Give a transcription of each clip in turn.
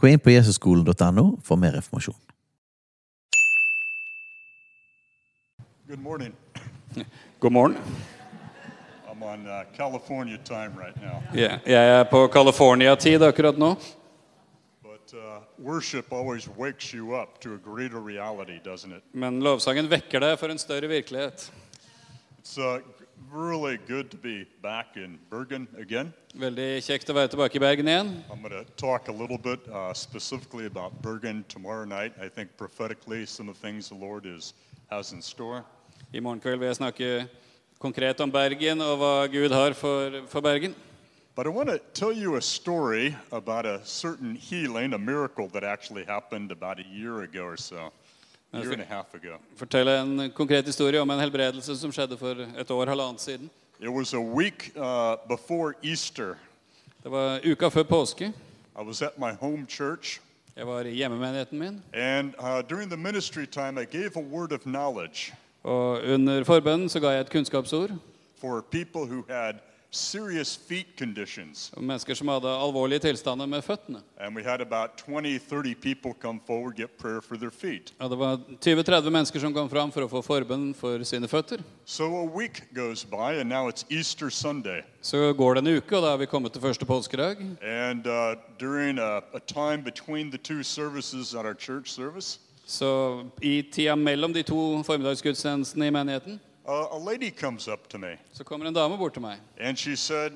Gå inn på jesusskolen.no for mer informasjon. Good morning. God morgen. I'm on uh, California time right now, Ja, Jeg er på California-tid akkurat nå. but uh, worship always wakes you up to a greater reality, doesn't it? Men lovsangen vekker deg for en større virkelighet. It's uh, really good to be back in Bergen again. Veldig kjekt å være tilbake i Bergen igjen. I'm going to talk a little bit uh, specifically about Bergen tomorrow night. I think prophetically, some of the things the Lord is has in store. I morgen kveld vil jeg snakke konkret om Bergen og hva Gud har for, for Bergen. But I want to tell you a story about a certain healing, a miracle that actually happened about a year ago or so, a year and a half ago. Fortelle en konkret historie om en helbredelse som skjedde for et år halvannet siden. It was a week uh, before Easter. Det var uka før påske. I was at my home church, Jeg var i hjemmemenigheten min. and uh, during the ministry time, I gave a word of knowledge Og under forbønnen så ga jeg et kunnskapsord for people who had serious feet conditions. om mennesker som hadde alvorlige tilstander med føttene. And we had about 20, 30 people come forward, get prayer for their feet. Og det var 20-30 mennesker som kom fram for å få forbønn for sine føtter. So a week goes by, and now it's Easter Sunday. Så går det en uke, og da er vi kommet til første påskedag. And uh, during a, a time between the two services at our church service, Så i tida mellom de to formiddagsgudstjenestene i menigheten, uh, a lady comes up to me, så kommer en dame bort til meg and she said,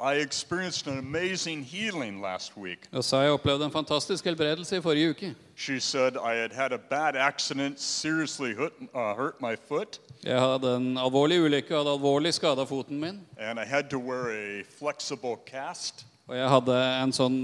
I experienced an amazing healing last week. og sa jeg opplevde en fantastisk helbredelse i forrige uke. She said, I had had a bad accident, seriously hurt, uh, hurt my foot, Jeg hadde en alvorlig ulykke og hadde alvorlig skada foten min. and I had to wear a flexible cast. Og jeg hadde en sånn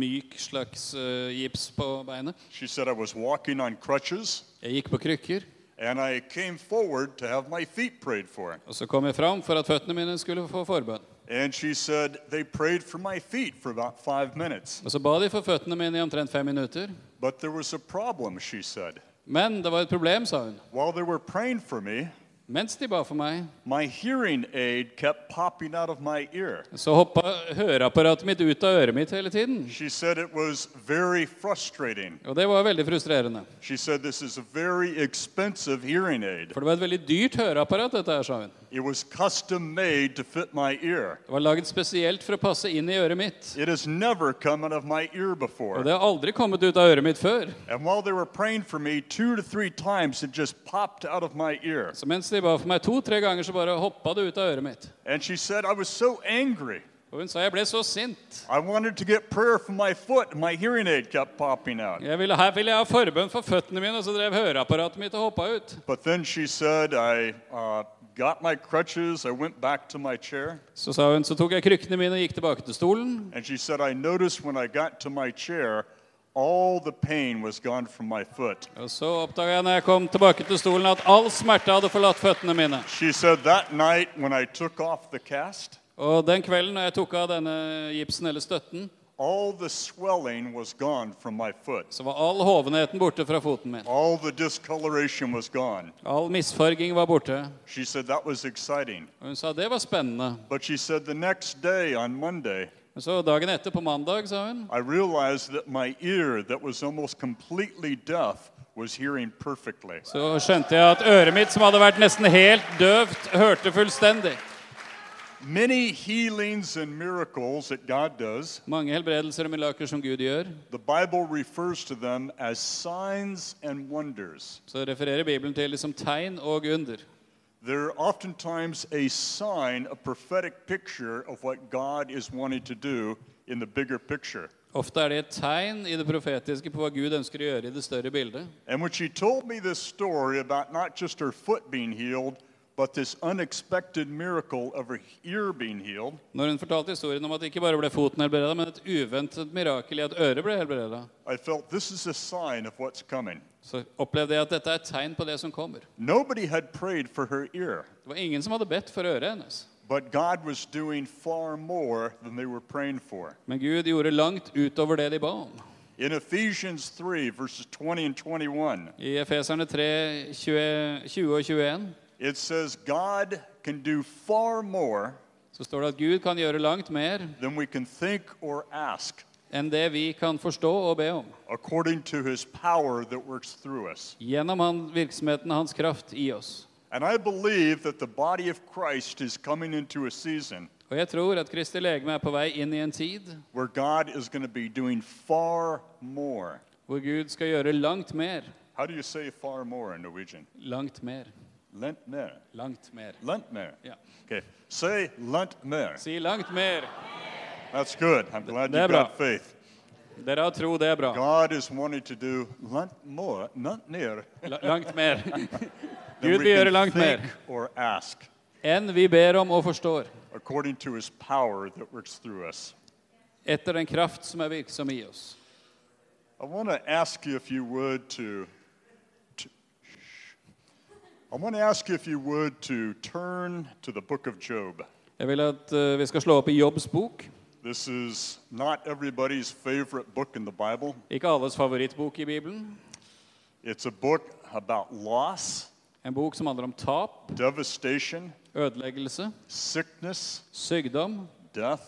myk slags eh, gips på beinet. She said, I was walking on crutches, Jeg gikk på krykker, and I came forward to have my feet prayed for. og så kom jeg fram for at føttene mine skulle få forbønn. And she said, They prayed for my feet for about five minutes. Og så ba de for føttene mine i omtrent fem minutter. But there was a problem, she said. Men det var et problem, sa hun. While they were praying for me, Mens de ba for meg, my hearing aid kept popping out of my ear. så hoppa høreapparatet mitt ut av øret mitt hele tiden. She said it was very frustrating. Og det var veldig frustrerende. She said, This is a very expensive hearing aid. For det var et veldig dyrt høreapparat, dette her, sa hun. It was custom made to fit my ear. Det var laget spesielt for å passe inn i øret mitt. It has never come out of my ear Og before. det har aldri kommet ut av øret mitt før. And while they were praying for me, two to three times it just popped out of my ear. Så mens de ba for meg to-tre ganger, så bare hoppa det ut av øret mitt. And she said, I was so angry. Og hun sa jeg ble så sint. I wanted to get prayer for my foot, and my hearing aid kept popping out. Jeg ville, her ville jeg ha forbønn for føttene mine, og så drev høreapparatet mitt og hoppa ut. But then she said, I uh, got my crutches, I went back to my chair, Så sa hun, så tok jeg krykkene mine og gikk tilbake til stolen. and she said, I noticed when I got to my chair, all the pain was gone from my foot. Og så oppdaga jeg når jeg kom tilbake til stolen, at all smerte hadde forlatt føttene mine. She said, That night when I took off the cast, Og den kvelden når jeg tok av denne gipsen eller støtten, All the swelling was gone from my foot. så var all hovenheten borte fra foten min. All the discoloration was gone. All misfarging var borte. She said that was exciting. Og hun sa det var spennende. But she said the next day on Monday, Men så dagen etter, på mandag, sa hun, I realized that my ear, that was almost completely deaf, was hearing perfectly. så skjønte jeg at øret mitt, som hadde vært nesten helt døvt, hørte fullstendig. Many healings and miracles that God does, Mange helbredelser og mirakler som Gud gjør, the Bible refers to them as signs and wonders. så refererer Bibelen til det som tegn og under. They're oftentimes a sign, a prophetic picture of what God is wanting to do in the bigger picture. Ofte er det et tegn i det profetiske på hva Gud ønsker å gjøre i det større bildet. And when she told me this story about not just her foot being healed, But this unexpected miracle of her ear being healed Når hun fortalte historien om at ikke bare ble foten helbreda, men et uventet mirakel i at øret ble helbreda, I felt this is a sign of what's coming. så opplevde jeg at dette er et tegn på det som kommer. Nobody had prayed for her ear, Det var ingen som hadde bedt for øret hennes. but God was doing far more than they were praying for. Men Gud gjorde langt utover det de ba om. In Ephesians 3, verses 20 and 21, I Efeserne 3, 20, 20 og 21 it says, God can do far more så står det at Gud kan gjøre langt mer than we can think or ask, enn det vi kan forstå og be om, according to his power that works through us. gjennom han, virksomheten hans kraft i oss. And I believe that the body of Christ is coming into a season Og jeg tror at Kristi legeme er på vei inn i en tid where God is going to be doing far more. hvor Gud skal gjøre langt mer. How do you say far more in Norwegian? Langt mer. Lent mer. Langt mer. Lent mer. Ja. Okay. Say lent mer. Si langt mer. That's good. I'm glad you Debra. got faith. Dere har tro, det er bra. God is wanting to do lent more, lent near, La- Langt mer. than Gud we vil gjøre can langt mer think or ask, enn vi ber om og forstår, according to His power that works through us. etter den kraft som er virksom i oss. I want to ask you if you would to. to shh. I want to ask you if you would to turn to the book of Job. Jeg vil at eh, vi skal slå opp i Jobbs bok. This is not everybody's favorite book in the Bible. Ikke alles favorittbok i Bibelen. It's a book about loss, En bok som handler om tap, devastation, ødeleggelse, sickness, sykdom, death,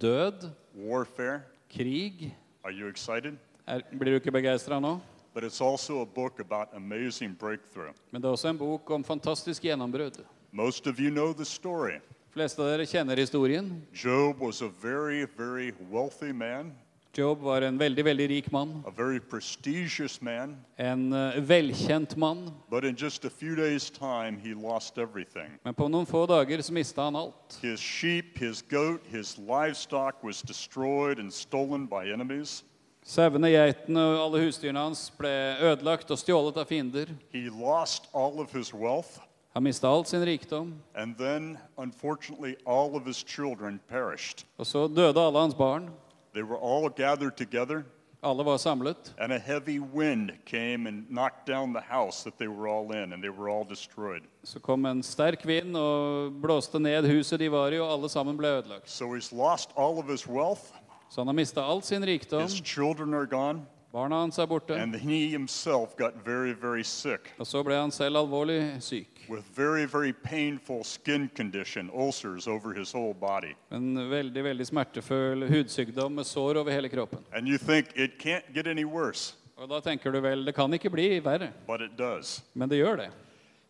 død, warfare. krig. Are you excited? Er, blir du ikke begeistra nå? But it's also a book about amazing breakthrough. Men det er også en bok om fantastisk gjennombrudd. Most of you know the story. De fleste av dere kjenner historien. Job was a very, very wealthy man, Job var en veldig, veldig rik mann. a very prestigious man, En eh, velkjent mann. but in just a few days' time, he lost everything. Men på noen få dager så mista han alt. His sheep, his goat, his livestock was destroyed and stolen by enemies. Sauene, geitene og alle husdyrene hans ble ødelagt og stjålet av fiender. He lost all of his wealth, Han mista all sin rikdom. and then, unfortunately, all of his children perished. Og så døde alle hans barn. They were all gathered together, Alle var samlet. and a heavy wind came and knocked down the house that they were all in, and they were all destroyed. Så kom en sterk vind og blåste ned huset de var i, og alle sammen ble ødelagt. So he's lost all of his wealth, Så han har mista all sin rikdom. his children are gone, Barna hans er borte. and he himself got very, very sick Og så ble han selv alvorlig syk. with very, very painful skin condition, ulcers over his whole body. En veldig veldig smertefull hudsykdom med sår over hele kroppen. And you think it can't get any worse, Og da tenker du vel det kan ikke bli verre, but it does. men det gjør det.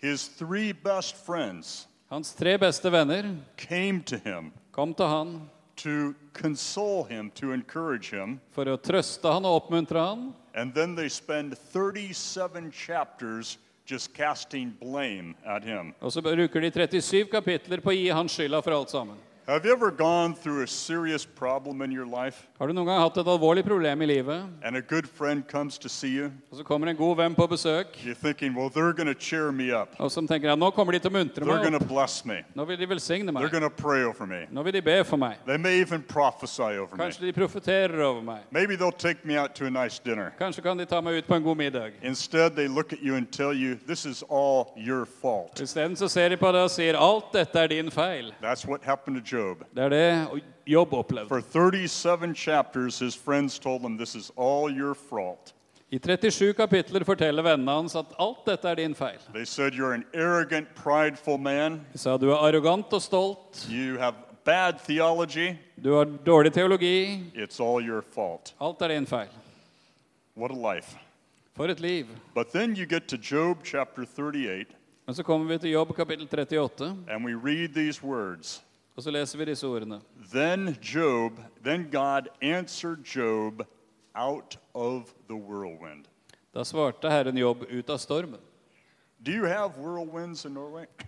His three best friends Hans tre beste venner came to him kom til han to console him, to encourage him. for å trøste han og oppmuntre han. And then they spend 37 chapters just casting blame at him. Og så bruker de 37 kapitler på å gi han skylda for alt sammen. Have you ever gone through a serious problem in your life Har du noen gang hatt et alvorlig problem i livet, and a good friend comes to see you? og så kommer en god venn på besøk, You're thinking, well, they're going to cheer me up. og som tenker at nå kommer de til å muntre They're meg going opp. to bless me. Nå vil de velsigne They're meg. going to pray over me. Nå vil de be for meg. They may even prophesy over me. Kanskje de profeterer over meg. Maybe they'll take me out to a nice dinner. Kanskje kan de ta meg ut på en god middag. Instead, they look at you and tell you, this is all your fault. Isteden så ser de på det og sier alt dette er din feil. That's what happened to Job. Det er det Jobb opplevde. For 37 chapters, his friends told him, this is all your fault. I 37 kapitler forteller vennene hans at alt dette er din feil. They said, You're an arrogant, prideful man. De sa du er arrogant og stolt, You have bad theology. du har dårlig teologi. It's all your fault. Alt er din feil. What a life. For et liv. But then you get to Job chapter 38, Men så kommer vi til Jobb kapittel 38, and we read these words og så leser vi disse ordene. Then Job, then God answered Job out of the whirlwind. Da svarte Herren Jobb ut av stormen. Do you have whirlwinds in Norway?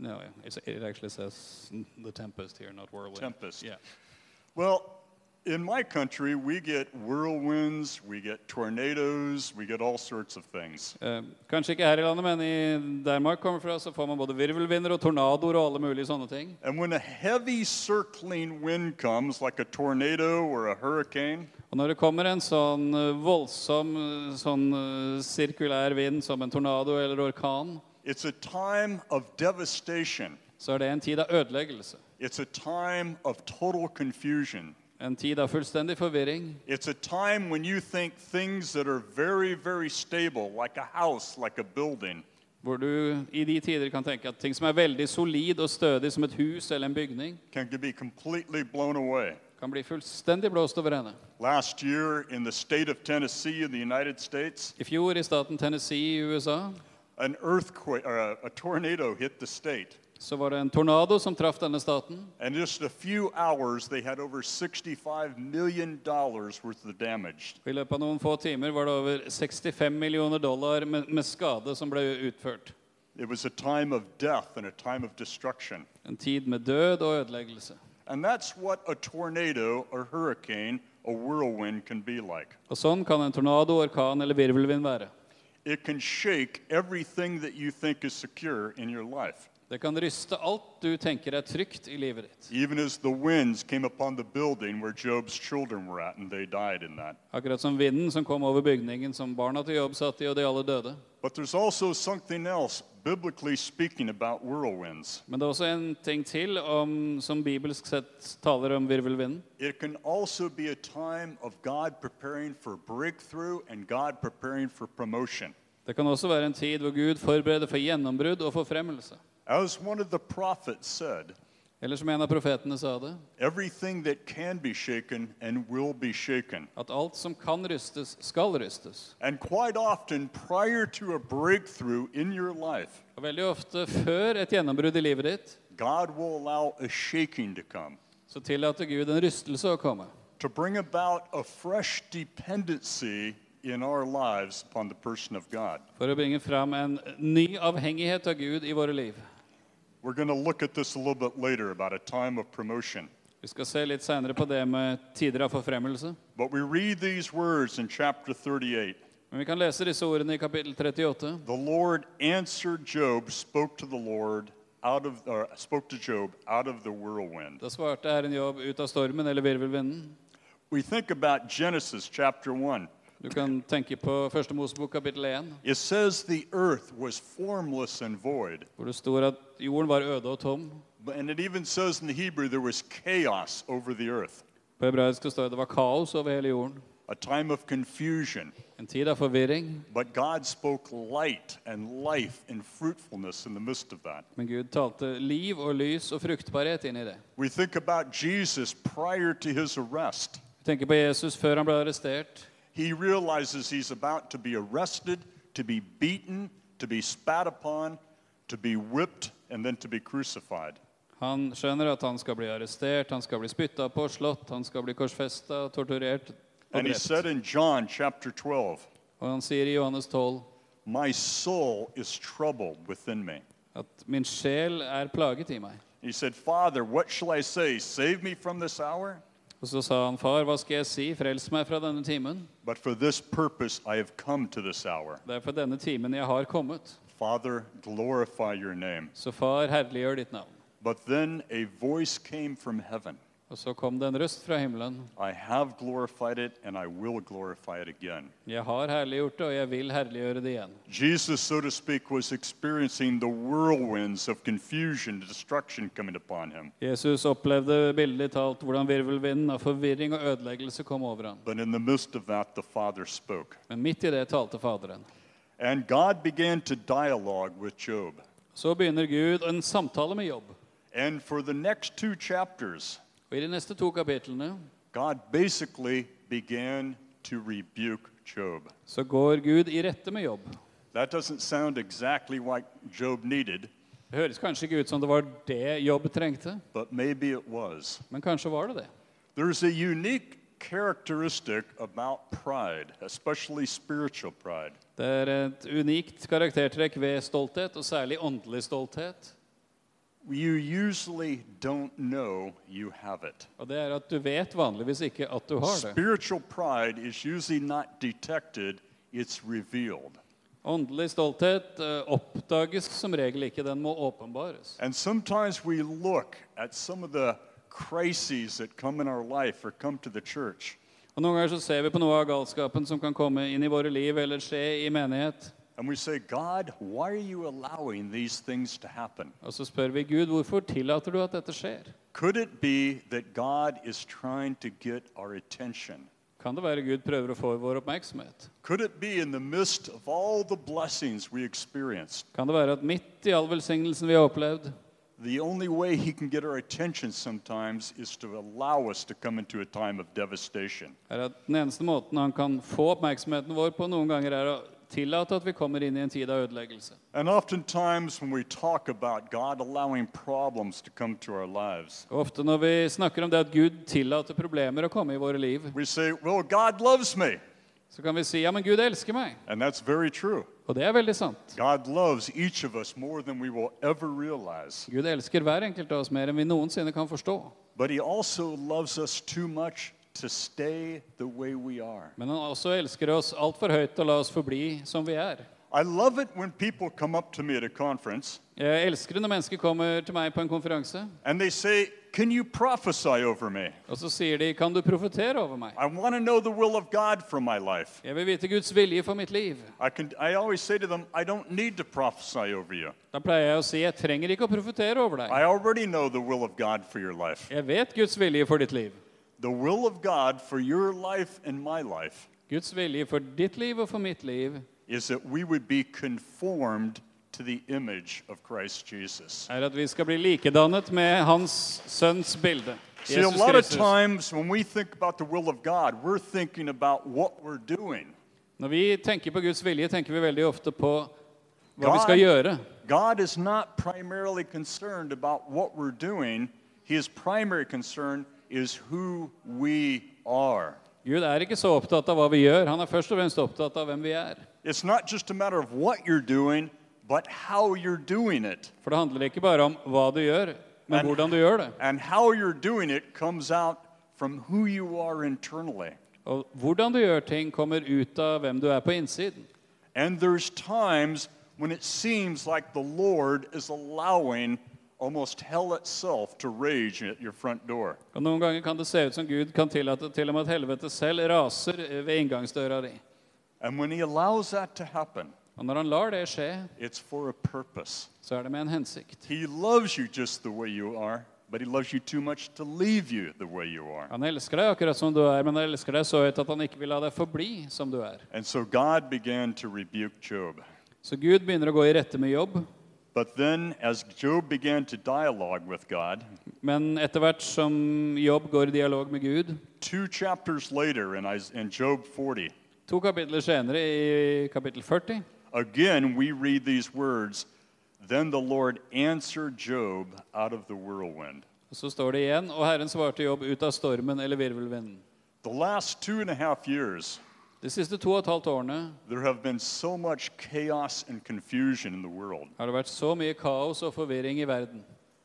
No, yeah, it's- it actually says the tempest here, not whirlwind. Tempest. Yeah. Well, in my country, we get whirlwinds, we get tornadoes, we get all sorts of things. Eh, Kanskje ikke her i landet, men i der Mark kommer fra, så får man både virvelvinder og tornadoer og alle mulige sånne ting. And when a heavy circling wind comes, like a tornado or a hurricane, Og når det kommer en sånn eh, voldsom eh, sånn eh, sirkulær vind som en tornado eller orkan, it's a time of devastation. så er det en tid av ødeleggelse. It's a time of total confusion. En tid av fullstendig forvirring. It's a time when you think things that are very, very stable, like a house, like a building, Hvor du i de tider kan tenke at ting som er veldig solid og stødig, som et hus eller en bygning, can be completely blown away. kan bli fullstendig blåst over ende. Last year in the state of Tennessee in the United States, I fjor i staten Tennessee i USA an earthquake, or a, a tornado hit the state. så var det en tornado som traff denne staten. And just a few hours, they had over $65 million worth of damage. Og I løpet av noen få timer var det over 65 millioner dollar med, med skade som ble utført. It was a time of death and a time of destruction. En tid med død og ødeleggelse. And that's what a tornado, a hurricane, a whirlwind can be like. Og sånn kan en tornado, orkan eller virvelvind være. It can shake everything that you think is secure in your life. Det kan ryste alt du tenker er trygt i livet ditt. Even as the winds came upon the building where Job's children were at, and they died in that. Akkurat som vinden som kom over bygningen som barna til jobb satt i, og de alle døde. But there's also something else, biblically speaking, about whirlwinds. Men det er også en ting til om, som bibelsk sett taler om virvelvinden. It can also be a time of God preparing for breakthrough and God preparing for promotion. Det kan også være en tid hvor Gud forbereder for gjennombrudd og forfremmelse. As one of the prophets said, Eller som en av profetene sa det, everything that can be shaken and will be shaken. at alt som kan rystes, skal rystes. And quite often, prior to a breakthrough in your life, Og veldig ofte før et gjennombrudd i livet ditt, God will allow a shaking to come, så tillater Gud en rystelse å komme. to bring about a fresh dependency in our lives upon the person of God. For å bringe fram en ny avhengighet av Gud i våre liv. We're going to look at this a little bit later about a time of promotion. Vi skal se litt seinere på det med tider av forfremmelse. But we read these words in chapter 38. Men vi kan lese disse ordene i kapittel 38. The Lord answered Job, spoke to the Lord out of or spoke to Job out of the whirlwind. Da svarte Herren Jobb ut av stormen eller virvelvinden. We think about Genesis chapter 1. Du kan tenke på første Mosebok kapittel 1, It says the earth was formless and void. hvor det står at jorden var øde og tom. But- And it even says in the Hebrew there was chaos over the earth, På hebraisk så står det at det var kaos over hele jorden. a time of confusion. En tid av forvirring. But God spoke light and life and fruitfulness in the midst of that. Men Gud talte liv og lys og fruktbarhet inn i det. We think about Jesus prior to his arrest. Vi tenker på Jesus før han ble arrestert. He realizes he's about to be arrested, to be beaten, to be spat upon, to be whipped, and then to be crucified. Han skjønner at han skal bli arrestert, han skal bli spytta på, slått, han skal bli korsfesta, torturert og And he said drept. in John chapter 12, Og han sier i Johannes 12 My soul is troubled within me. at 'min sjel er plaget i meg'. He said, Father, what shall I say? Save me from this hour? Og så sa han, 'Far, hva skal jeg si? Frels meg fra denne timen.' But for this purpose I have come to this hour. Det er for denne timen jeg har kommet. Father, glorify your name. Så far, herliggjør ditt navn. But then a voice came from heaven. Og så kom det en røst fra himmelen. I have glorified it, and I will glorify it again. Jeg har herliggjort det, og jeg vil herliggjøre det igjen. Jesus, so to speak, was experiencing the whirlwinds of confusion, destruction coming upon him. Jesus opplevde billedlig talt hvordan virvelvinden av forvirring og ødeleggelse kom over ham. But in the midst of that, the Father spoke. Men midt i det talte Faderen. And God began to dialogue with Job. Så begynner Gud en samtale med Jobb. And for the next two chapters, Og i de neste to kapitlene God basically began to rebuke Job. så går Gud i rette med Jobb. That doesn't sound exactly like Job needed, Det høres kanskje ikke ut som det var det Jobb trengte, but maybe it was. men kanskje var det det. There's a unique characteristic about pride, especially spiritual pride. Det er et unikt karaktertrekk ved stolthet, og særlig åndelig stolthet. you usually don't know you have it. Og det er at du vet vanligvis ikke at du har det. Spiritual pride is usually not detected, it's revealed. Åndelig stolthet eh, oppdages som regel ikke. Den må åpenbares. And sometimes we look at some of the crises that come in our life or come to the church, Og Noen ganger så ser vi på noe av galskapen som kan komme inn i våre liv eller skje i menighet. and we say, God, why are you allowing these things to happen? Og så spør vi Gud hvorfor tillater du at dette skjer. Could it be that God is trying to get our attention? Kan det være Gud prøver å få vår oppmerksomhet? Could it be in the midst of all the blessings we experienced, Kan det være at midt i all velsignelsen vi har opplevd, the only way He can get our attention sometimes is to allow us to come into a time of devastation? er at den eneste måten han kan få oppmerksomheten vår på noen ganger, er å tillate at vi kommer inn i en tid av ødeleggelse. And oftentimes, when we talk about God allowing problems to come to our lives, Og ofte når vi snakker om det at Gud tillater problemer å komme i våre liv, we say, Well, God loves me. så kan vi si ja, men Gud elsker meg. And that's very true. Og det er veldig sant. God loves each of us more than we will ever realize. Gud elsker hver enkelt av oss mer enn vi noensinne kan forstå. But He also loves us too much to stay the way we are. Men han også elsker oss altfor høyt og la oss forbli som vi er. I love it when people come up to me at a conference Jeg Eh, elsker det når mennesker kommer til meg på en konferanse, and they say, Can you prophesy over me? og så sier de 'Kan du profetere over meg?' I want to know the will of God for my life. Jeg vil vite Guds vilje for mitt liv. I, can, I always say to them, I don't need to prophesy over you. Da pleier jeg å si 'Jeg trenger ikke å profetere over deg'. I already know the will of God for your life. Jeg vet Guds vilje for ditt liv. The will of God for your life and my life Guds vilje for ditt liv og for mitt liv is that we would be conformed to the image of Christ Jesus. er at vi skal bli likedannet med Hans Sønns bilde. See, a Jesus lot of Kristus. times when we think about the will of God, we're thinking about what we're doing. Når vi tenker på Guds vilje, tenker vi veldig ofte på hva vi God- skal gjøre. God is not primarily concerned about what we're doing, His primary concern is who we are. Gud er ikke så opptatt av hva vi gjør. Han er først og fremst opptatt av hvem vi er. It's not just a matter of what you're doing, but how you're doing it. For det handler ikke bare om hva du gjør, men Men- hvordan du gjør det. And how you're doing it comes out from who you are internally. Og hvordan du gjør ting, kommer ut av hvem du er på innsiden. And there's times when it seems like the Lord is allowing almost hell itself to rage at your front door. Og Noen ganger kan det se ut som Gud kan tillate til og med at helvete selv raser eh, ved inngangsdøra di. And when He allows that to happen, Og når han lar det skje, it's for a purpose. så er det med en hensikt. He loves you just the way you are, but He loves you too much to leave you the way you are. Han elsker deg akkurat som du er, men han elsker deg så høyt at han ikke vil la deg forbli som du er. And so God began to rebuke Job. Så Gud begynner å gå i rette med jobb, But then, as Job began to dialogue with God, men etter hvert som jobb går i dialog med Gud two chapters later in, Is- in Job 40, To kapitler senere, i kapittel 40, again we read these words Then the Lord answered Job out of the whirlwind. så står det igjen Og Herren svarte jobb ut av stormen eller virvelvinden. The last two and a half years, De siste to og et halvt årene there have been so much chaos and confusion in the world. har det vært så mye kaos og forvirring i verden.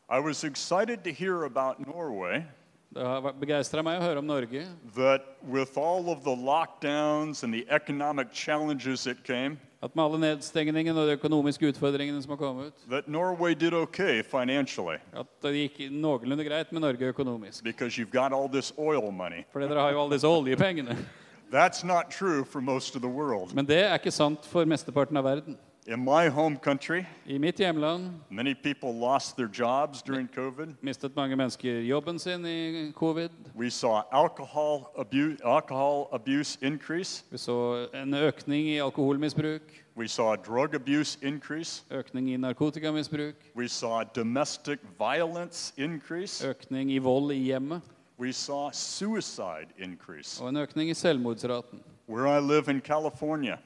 I was excited to hear about Norway. Det har begeistra meg å høre om Norge. that with all of the lockdowns and the economic challenges that came, At med alle nedstengningene og de økonomiske utfordringene som har kommet, that Norway did okay financially at det gikk noenlunde greit med Norge økonomisk. because you've got all this oil money. Fordi dere har jo alle disse oljepengene. That's not true for most of the world. Men det er ikke sant for mesteparten av verden. In my home country, I mitt hjemland many people lost their jobs during COVID. mistet mange mennesker jobben sin i covid. We saw alcohol abuse, alcohol abuse increase. Vi så en økning i alkoholmisbruk, We saw drug abuse increase. økning i narkotikamisbruk, We saw domestic violence increase. økning i vold i hjemmet We saw suicide increase. og en økning i selvmordsraten. Where I live in California,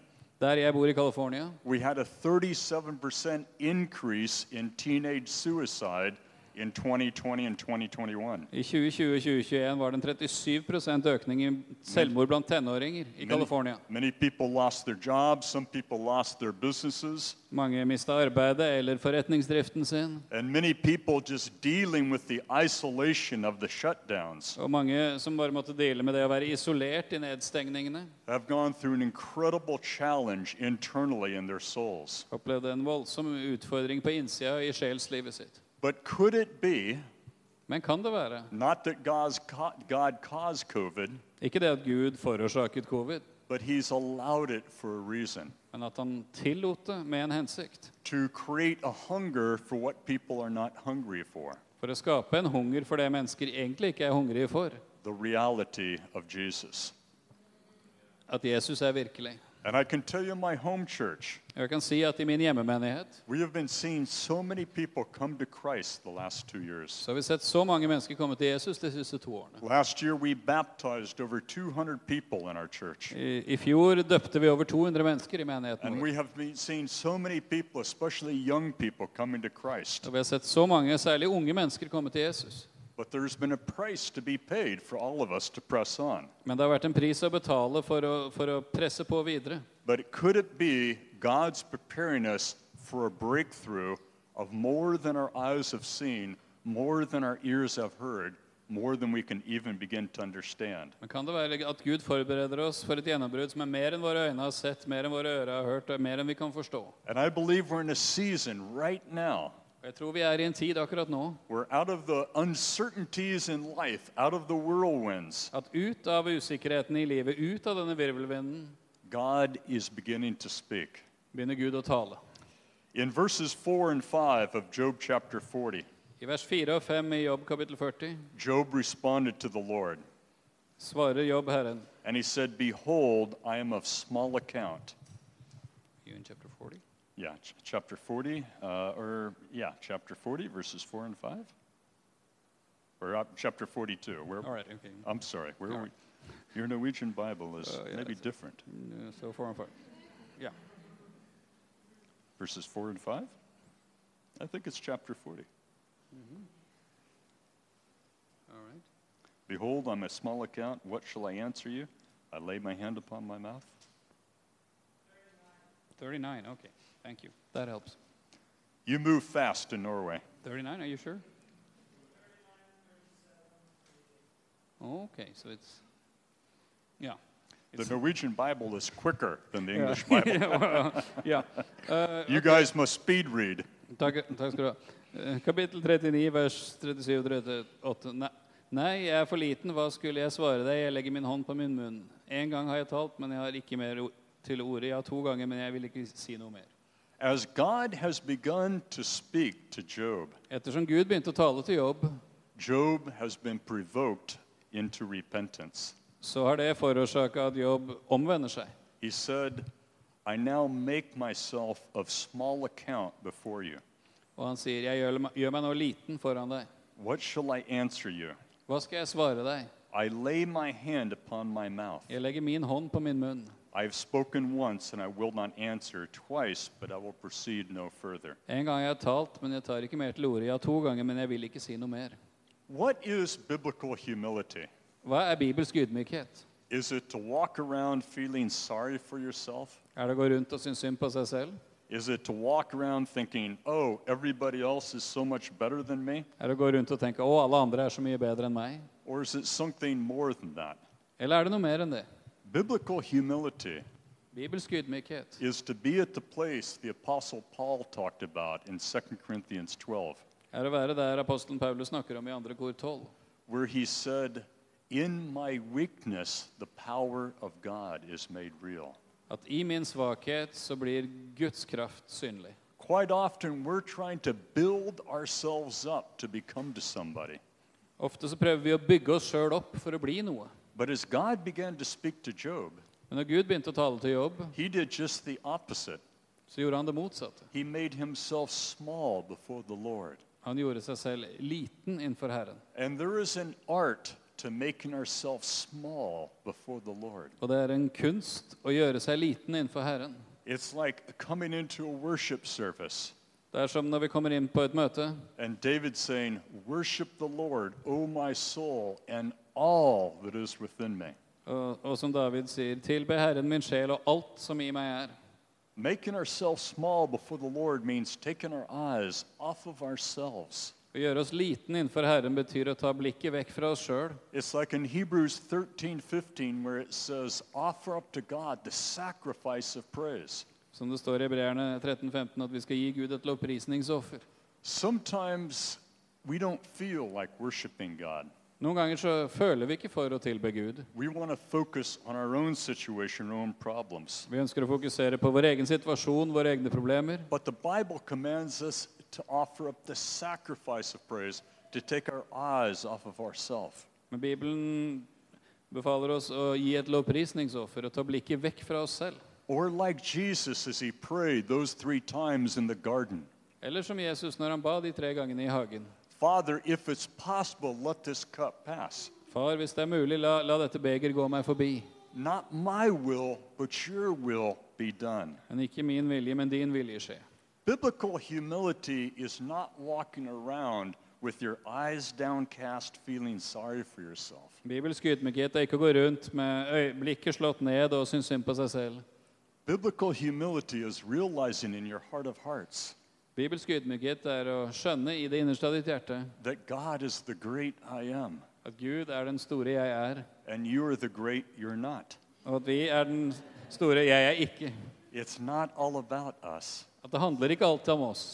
Der jeg bor i California, we had a 37% increase in teenage suicide in 2020 and 2021. I 2020 og 2021 var det en 37 økning i selvmord blant tenåringer i California. Many people lost their jobs, some people lost their businesses, Mange mista arbeidet eller forretningsdriften sin. and many people just dealing with the isolation of the shutdowns Og mange som bare måtte deale med det å være isolert i nedstengningene, have gone through an incredible challenge internally in their souls. opplevde en voldsom utfordring på innsida i sjelslivet sitt. But could it be Men kan det være? not that God's ca- God caused COVID, Ikke det at Gud forårsaket covid, but He's allowed it for a reason men at han tillot det med en hensikt. to create a hunger for what people are not hungry for For å skape en hunger for det mennesker egentlig ikke er hungrige for. the reality of Jesus. At Jesus er virkelig. And I can tell you, my home church, Jeg kan si at i min hjemmemenighet we have been seeing so many people come to Christ the last two years. så har vi sett så mange mennesker komme til Jesus de siste to årene. Last year, we baptized over 200 people in our church. I, I fjor døpte vi over 200 mennesker i menigheten And vår. we have been seeing so many people, especially young people, coming to Christ. Og vi har sett så mange, særlig unge mennesker, komme til Jesus. But there's been a price to be paid for all of us to press on. Men det har vært en pris å betale for å, for å presse på videre. But it- could it be God's preparing us for a breakthrough of more than our eyes have seen, more than our ears have heard, more than we can even begin to understand? Men kan det være at Gud forbereder oss for et gjennombrudd som er mer enn våre øyne har sett, mer enn våre ører har hørt, og mer enn vi kan forstå? And I believe we're in a season right now. Og jeg tror vi er i en tid akkurat nå We're out of the uncertainties in life, out of the whirlwinds. at ut av usikkerheten i livet, ut av denne virvelvinden, God is beginning to speak. begynner Gud å tale. In verses 4 and 5 of Job chapter 40, I vers 4 og 5 i Jobb kapittel 40 Job responded to the Lord, svarer Jobb Herren. and he said, Behold, I am of small account. You in chapter 40? Yeah, ch- chapter 40, uh, or yeah, chapter 40, verses 4 and 5. Or uh, chapter 42. Where, All right, okay. I'm sorry, where All are we? right. Your Norwegian Bible is Uh, yeah, maybe it's- different. Mm, So four and five. Yeah. Verses 4 and 5? I think it's chapter 40. All right. Behold, I'm a small account. What shall I answer you? I lay my hand upon my mouth. 39. Okay. Thank you. That helps. You move fast in Norway. 39, are you sure? Okay, so it's Yeah. The It's- Norwegian Bible is quicker than the Yeah. English Bible. yeah. You guys must speed read. Takk, takk skal du ha. Eh, Kapittel 39, vers 37 og 38. Nei, nei, jeg er for liten. Hva skulle jeg svare deg? Jeg legger min hånd på min munn. En gang har jeg talt, men jeg har ikke mer o- til ordet. Ja, to ganger, men jeg vil ikke si noe mer. As God has begun to speak to Job, Ettersom Gud begynte å tale til Jobb, Job has been provoked into repentance. så har det forårsaka at Jobb omvender seg. He said, I now make myself of small account before you. Og han sier, 'Jeg gjør, gjør meg nå liten foran deg. What shall I answer you? Hva skal jeg svare deg? I lay my hand upon my mouth. Jeg legger min hånd på min munn. I have spoken once, and I will not answer twice, but I will proceed no further. En gang jeg har talt, men jeg tar ikke mer til ordet. Ja, to ganger, men jeg vil ikke si noe mer. What is biblical humility? Hva er bibelsk ydmykhet? Is it to walk around feeling sorry for yourself? Er det å gå rundt og synes synd på seg selv? Is it to walk around thinking, oh, everybody else is so much better than me? Er det å gå rundt og tenke 'Å, alle andre er så mye bedre enn meg'? Or is it something more than that? Eller er det noe mer enn det? Biblical humility Bibelsk ydmykhet is to be at the place the Apostle Paul talked about in 2 Corinthians 12, er å være der apostelen Paulus snakker om i andre kor 12. where he said, In my weakness, the power of God is made real. At i min svakhet så blir Guds kraft synlig. Quite often, we're trying to build ourselves up to become to somebody. Ofte så prøver vi å bygge oss sjøl opp for å bli noe. But as God began to speak to Job, Men når Gud begynte å tale til Jobb, he did just the opposite. så gjorde han det motsatte. He made himself small before the Lord. Han gjorde seg selv liten innenfor Herren. And there is an art to making ourselves small before the Lord. Og det er en kunst å gjøre seg liten innenfor Herren. It's like coming into a worship service Det er som når vi kommer inn på et møte, And David's saying, Worship the Lord, O my soul, and all that is within me. og, og som David sier, tilbe Herren min sjel og alt som i meg er. Making ourselves small before the Lord means taking our eyes off of ourselves. Å gjøre oss liten innenfor Herren betyr å ta blikket vekk fra oss sjøl. It's like in Hebrews 13 15, where it says, Offer up to God the sacrifice of praise. Som det står i Hebreerne 13-15, at vi skal gi Gud et lovprisningsoffer. Sometimes we don't feel like worshiping God. Noen ganger så føler vi ikke for å tilbe Gud. We want to focus on our own situation, our own problems. Vi ønsker å fokusere på vår egen situasjon, våre egne problemer. But the Bible commands us to offer up the sacrifice of praise, to take our eyes off of ourselves. Men Bibelen befaler oss å gi et lovprisningsoffer og ta blikket vekk fra oss selv. Or like Jesus as he prayed those three times in the garden Eller som Jesus når han ba de tre gangene i hagen. Father, if it's possible, let this cup pass. Far, hvis det er mulig, la, la dette beger gå meg forbi. Not my will, but your will be done. Men ikke min vilje, men din vilje skje. Biblical humility is not walking around with your eyes downcast, feeling sorry for yourself. Bibelsk ydmykhet er ikke å gå rundt med øy- blikket slått ned og synes synd på seg selv. Biblical humility is realizing in your heart of hearts Bibelsk ydmykhet er å skjønne i det innerste av ditt hjerte that God is the great I am, at Gud er den store jeg er, and you are the great you're not. og at vi er den store jeg er ikke. It's not all about us. At det handler ikke alltid om oss.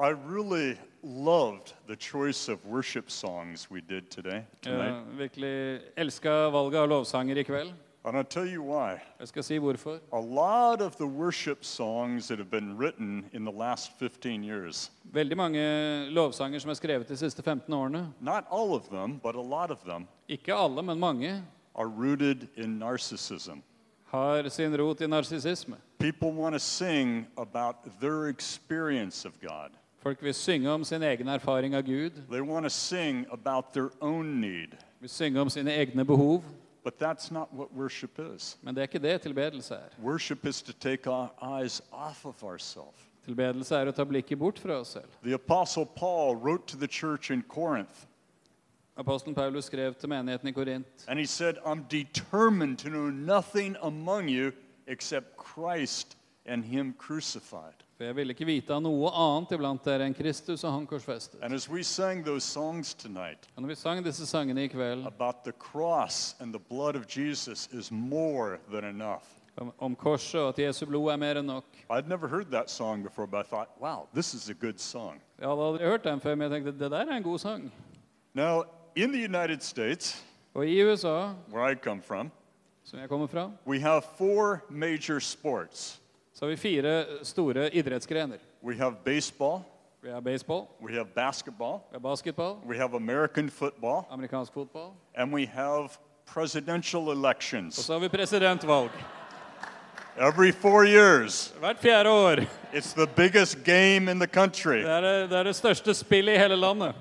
I really loved the choice of worship songs we did today. Jeg Tonight. virkelig elska valget av lovsanger i kveld. And I'll tell you why. Jeg skal si hvorfor. A lot of the worship songs that have been written in the last 15 years, Veldig mange lovsanger som er skrevet de siste 15 årene, not all of them, but a lot of them, ikke alle, men mange, are rooted in narcissism. har sin rot i narsissisme. People want to sing about their experience of God. Folk vil synge om sin egen erfaring av Gud, They want to sing about their own need, vil synge om sine egne behov, but that's not what worship is. men det er ikke det tilbedelse er. Worship is to take our eyes off of ourselves. Tilbedelse er å ta blikket bort fra oss selv. The Apostle Paul wrote to the church in Corinth, Apostelen Paulus skrev til menigheten i Korint. and he said, I'm determined to know nothing among you except Christ and Him crucified. For jeg ville ikke vite av noe annet iblant dere enn Kristus og han korsfestet. And as we sang those songs tonight Og når vi sang disse sangene i kveld about the cross and the blood of Jesus is more than enough. om, om korset og at Jesu blod er mer enn nok I'd never heard that song before, but I thought, wow, this is a good song. Jeg hadde aldri hørt den før, men jeg tenkte det der er en god sang. Now, in the United States, Og i USA, where I come from, som jeg kommer fra, we have four major sports så har vi fire store idrettsgrener. we have baseball, Vi har baseball, we have basketball, vi har basketball, we have American football, amerikansk fotball, and we have presidential og elections. så har vi presidentvalg. Every four years, Hvert fjerde år. it's the biggest game in the country. Det er det, det, er det største spillet i hele landet.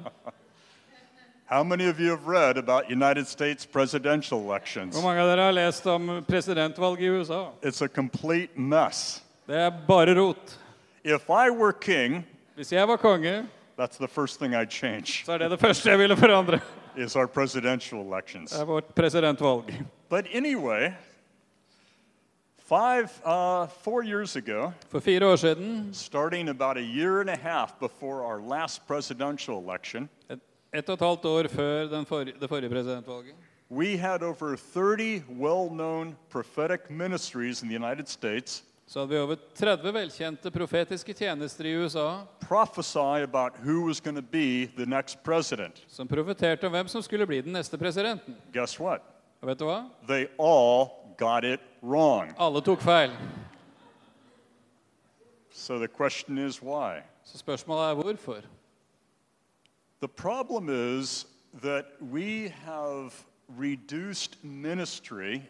How many of you have read about United States presidential elections? Hvor mange av dere har lest om presidentvalget i USA? It's a complete mess. Det er bare rot. If I were king, Hvis jeg var konge, That's the first thing I'd change så er det det første jeg ville forandre. is our presidential elections. Det er vårt presidentvalg. But anyway, five, uh, four years ago, For fire år siden, starting about a year and a half before our last presidential election, et, et og et halvt år før den for, det forrige presidentvalget, we had over 30 well-known prophetic ministries in the United States så hadde vi over 30 velkjente profetiske tjenester i USA prophesy about who was going to be the next president. som profeterte om hvem som skulle bli den neste presidenten. Guess what? Og vet du hva? They all got it wrong. Alle tok feil. So the question is why? Så spørsmålet er hvorfor. The problem is that we have reduced ministry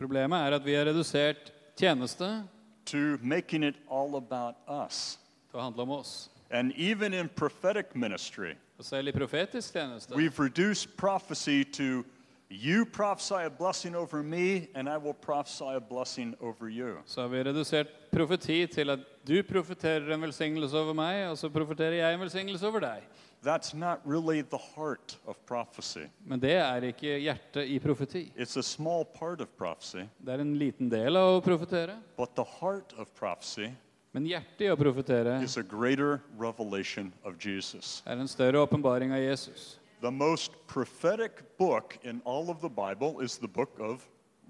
Problemet er at vi har redusert tjeneste to making it all about us. til å handle om oss. And even in prophetic ministry, Og selv i profetisk tjeneste we've reduced prophecy to You prophesy a blessing over me, and I will prophesy a blessing over you. Så har vi redusert profeti til at du profeterer en velsignelse over meg, og så profeterer jeg en velsignelse over deg. That's not really the heart of prophecy. Men det er ikke hjertet i profeti. It's a small part of prophecy, Det er en liten del av å profetere. but the heart of prophecy Men hjertet i å profetere is a greater revelation of Jesus. er en større åpenbaring av Jesus. The most prophetic book in all of the Bible is the book of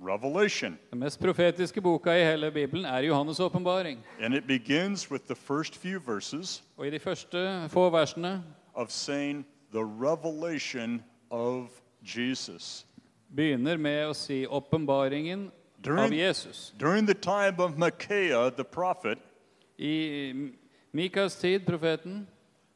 Revelation, Den mest profetiske boka i hele Bibelen er Johannes' åpenbaring. and it begins with the first few verses Og i de første få versene of saying the revelation of Jesus. begynner med å si åpenbaringen av During- Jesus. During the time of Micaiah the prophet, I Mikas tid, profeten,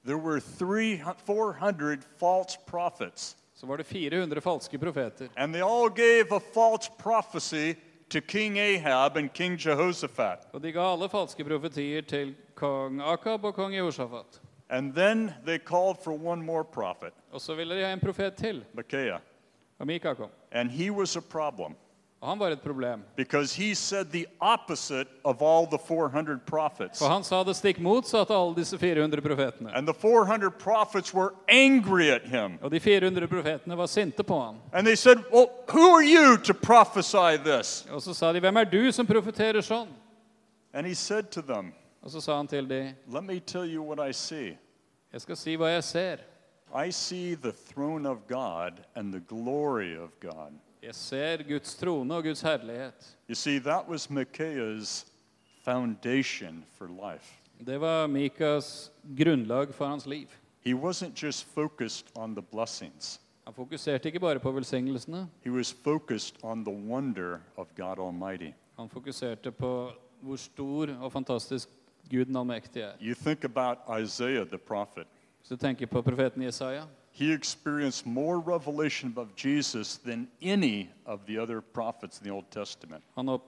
there were three, 400 false prophets, så var det 400 falske profeter. and they all gave a false prophecy to King Ahab and King Jehoshaphat. Og de ga alle falske profetier til kong Akab og kong Jehoshaphat. And then they called for one more prophet, Og så ville de ha en profet til, Micaiah. og Mika kom. And he was a problem Og han var et problem. because he said the opposite of all the 400 prophets. For han sa det stikk motsatt av alle disse 400 profetene. And the 400 prophets were angry at him. Og de 400 profetene var sinte på han. And they said, Well, who are you to prophesy this? Og så sa de, 'Hvem er du som profeterer sånn?' And he said to them, Og så sa han til de, Let me tell you what I see. 'Jeg skal si hva jeg ser.' I see the throne of God and the glory of God. Jeg ser Guds trone og Guds herlighet. You see, that was Micaiah's foundation for life. Det var Mikas grunnlag for hans liv. He wasn't just focused on the blessings, Han fokuserte ikke bare på velsignelsene, he was focused on the wonder of God Almighty. han fokuserte på hvor stor og fantastisk Gud den allmektige er. You think about Isaiah the prophet. Hvis du tenker på profeten Jesaja, He experienced more revelation of Jesus than any of the other prophets in the Old Testament. han opp,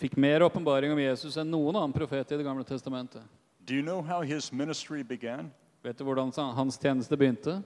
fikk mer åpenbaring om Jesus enn noen annen profet i Det gamle testamentet. Do you know how his ministry began? Vet du hvordan sa- hans tjeneste begynte?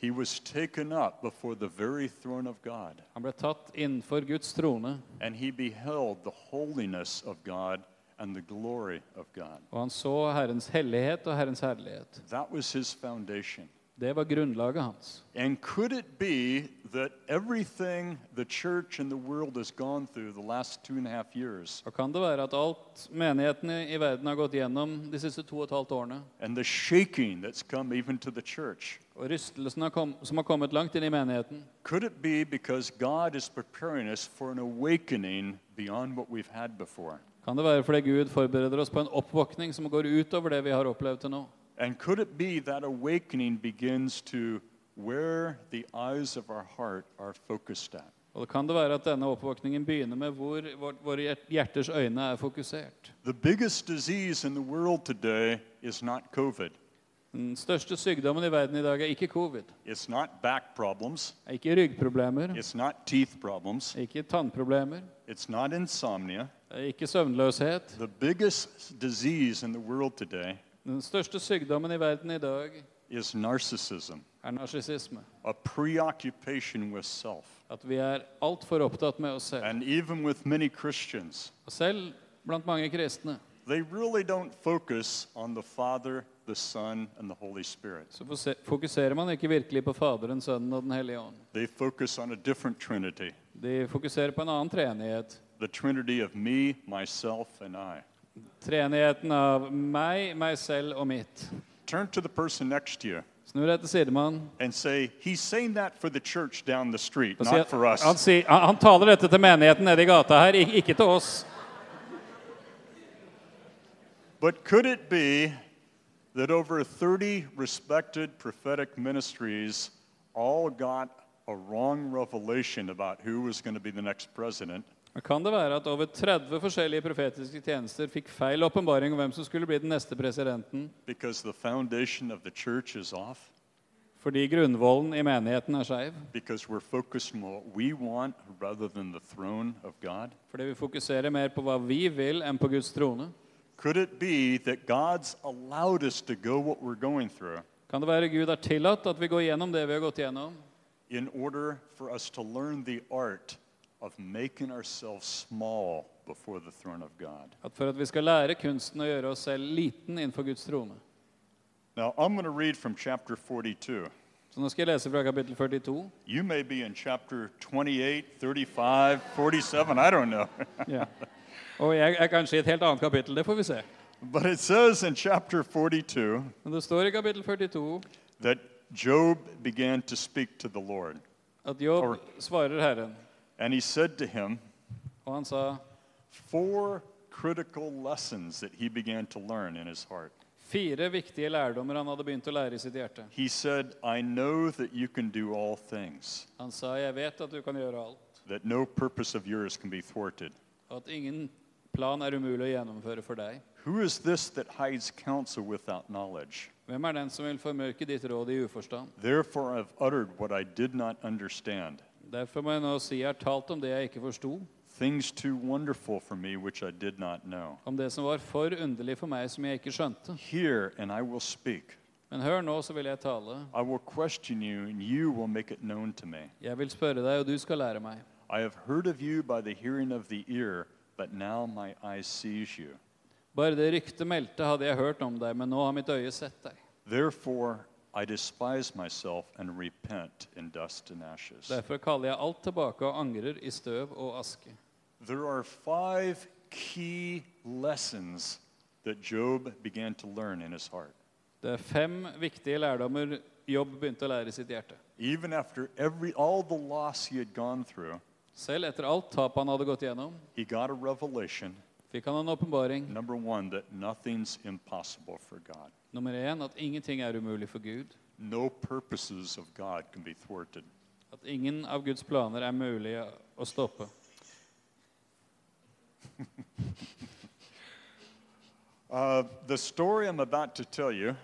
He was taken up before the very throne of God, Han ble tatt innenfor Guds trone, and he beheld the holiness of God and the glory of God. og han så Herrens hellighet og Herrens herlighet. That was his foundation. Det var grunnlaget hans. And could it be that everything the church and the world has gone through the last two and a half years, Og kan det være at alt menighetene i verden har gått gjennom de siste to og et halvt årene, and the shaking that's come even to the church, og rystelsen har kom, som har kommet langt inn i menigheten, could it be because God is preparing us for an awakening beyond what we've had before? kan det være fordi Gud forbereder oss på en oppvåkning som går utover det vi har opplevd til nå? And could it be that awakening begins to where the eyes of our heart are focused at? Og kan det være at denne oppvåkningen begynner med hvor vår- våre hjert- hjerters øyne er fokusert? The biggest disease in the world today is not COVID. Den største sykdommen i verden i dag er ikke covid, It's not back problems. er ikke ryggproblemer, It's not teeth problems. er ikke tannproblemer, It's not insomnia. er ikke søvnløshet. The biggest disease in the world today Den største sykdommen i verden i dag is narcissism, er narsissisme. a preoccupation with self. At vi er altfor opptatt med oss selv. And even with many Christians, Og selv blant mange kristne they really don't focus on the Father, the Son, and the Holy Spirit. så fose- fokuserer man ikke virkelig på Faderen, Sønnen og Den hellige ånd. They focus on a different Trinity De fokuserer på en annen treenighet. the Trinity of me, myself, and I. Treenigheten av meg, meg selv og mitt. Turn to the person next to you Snur deg til sidemann. and say, He's saying that for the church down the street, og not for sier- han, us. sier, han, han taler dette til menigheten nede i gata her, ik- ikke til oss. But could it be that over 30 respected prophetic ministries all got a wrong revelation about who was going to be the next president? Men Kan det være at over 30 forskjellige profetiske tjenester fikk feil åpenbaring om hvem som skulle bli den neste presidenten, Because the foundation of the church is off, fordi grunnvollen i menigheten er skeiv? because we're focused on what we want rather than the throne of God? Fordi vi fokuserer mer på hva vi vil, enn på Guds trone? Could it be that God's allowed us to go what we're going through Kan det være Gud har tillatt at vi går gjennom det vi har gått gjennom, in order for us to learn the art of making ourselves small before the throne of God. At for at vi skal lære kunsten å gjøre oss selv liten innenfor Guds trone. Now, I'm going to read from chapter 42. Så nå skal jeg lese fra kapittel 42. You may be in chapter 28, 35, 47, I don't know. Og jeg er kanskje i et helt annet kapittel. Det får vi se. but it says in chapter 42 Men det står i kapittel 42 that Job began to speak to the Lord. at Jobb svarer Herren, And he said to him og han sa four critical lessons that he began to learn in his heart. fire viktige lærdommer han hadde begynt å lære i sitt hjerte. He said, I know that you can do all things, Han sa, 'Jeg vet at du kan gjøre alt, that no purpose of yours can be thwarted. og at ingen plan er umulig å gjennomføre for deg.' Who is this that hides counsel without knowledge? Hvem er den som vil formørke ditt råd i uforstand? Therefore, I've uttered what I did not understand, Derfor må jeg nå si jeg har talt om det jeg ikke forsto, things too wonderful for me which I did not know. om det som var for underlig for meg som jeg ikke skjønte. Hear, and I will speak. Men hør nå, så vil jeg tale. I will question you, and you will make it known to me. Jeg vil spørre deg, og du skal lære meg. I have heard of you by the hearing of the ear, but now my eye sees you. Bare det ryktet meldte hadde jeg hørt om deg, men nå har mitt øye sett deg. Therefore, I despise myself and repent in dust and ashes. Derfor kaller jeg alt tilbake og angrer i støv og aske. There are five key lessons that Job began to learn in his heart. Det er fem viktige lærdommer Jobb begynte å lære i sitt hjerte. Even after every all the loss he had gone through, Selv etter alt tapet han hadde gått gjennom, he got a revelation. fikk han en åpenbaring. Number one, that nothing's impossible for God. Nummer én at ingenting er umulig for Gud. No purposes of God can be thwarted. At ingen av Guds planer er mulig å stoppe. Uh, the story I'm about to tell you,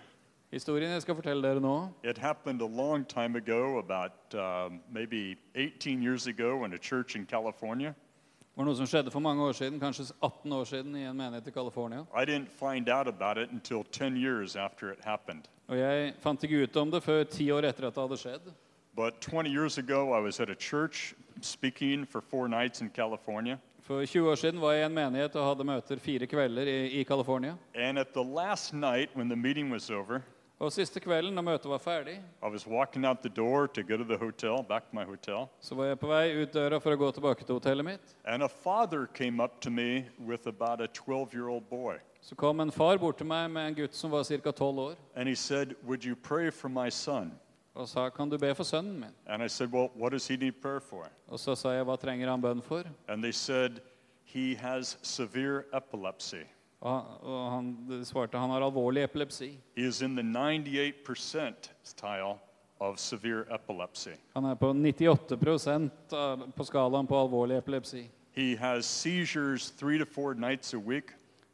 Historien jeg skal fortelle dere nå, it happened a long time ago, about um, maybe 18 years ago, in a church in California. var noe som skjedde for mange år siden, kanskje 18 år siden, i en menighet i California. I didn't find out about it until 10 years after it happened. Og jeg fant ikke ut om det før ti år etter at det hadde skjedd. But 20 years ago, I was at a church speaking for four nights in California. For 20 år siden var jeg i en menighet og hadde møter fire kvelder i, i California. And at the last night, when the meeting was over, Og siste kvelden, når møtet var ferdig, I was walking out the door to go to the hotel, back to my hotel, så var jeg på vei ut døra for å gå tilbake til hotellet mitt. and a father came up to me with about a 12 year old boy. Så kom en far bort til meg med en gutt som var ca. 12 år, And he said, Would you pray for my son? og sa, 'Kan du be for sønnen min?' And I said, Well, what does he need prayer for? Og så sa jeg, 'Hva trenger han bønn for?' And they said, He has severe epilepsy. Og han, og han svarte, 'Han har alvorlig epilepsi'. He is in the 98 percentile of severe epilepsy. Han er på 98 av- på skalaen på alvorlig epilepsi. He has seizures three to four nights a week.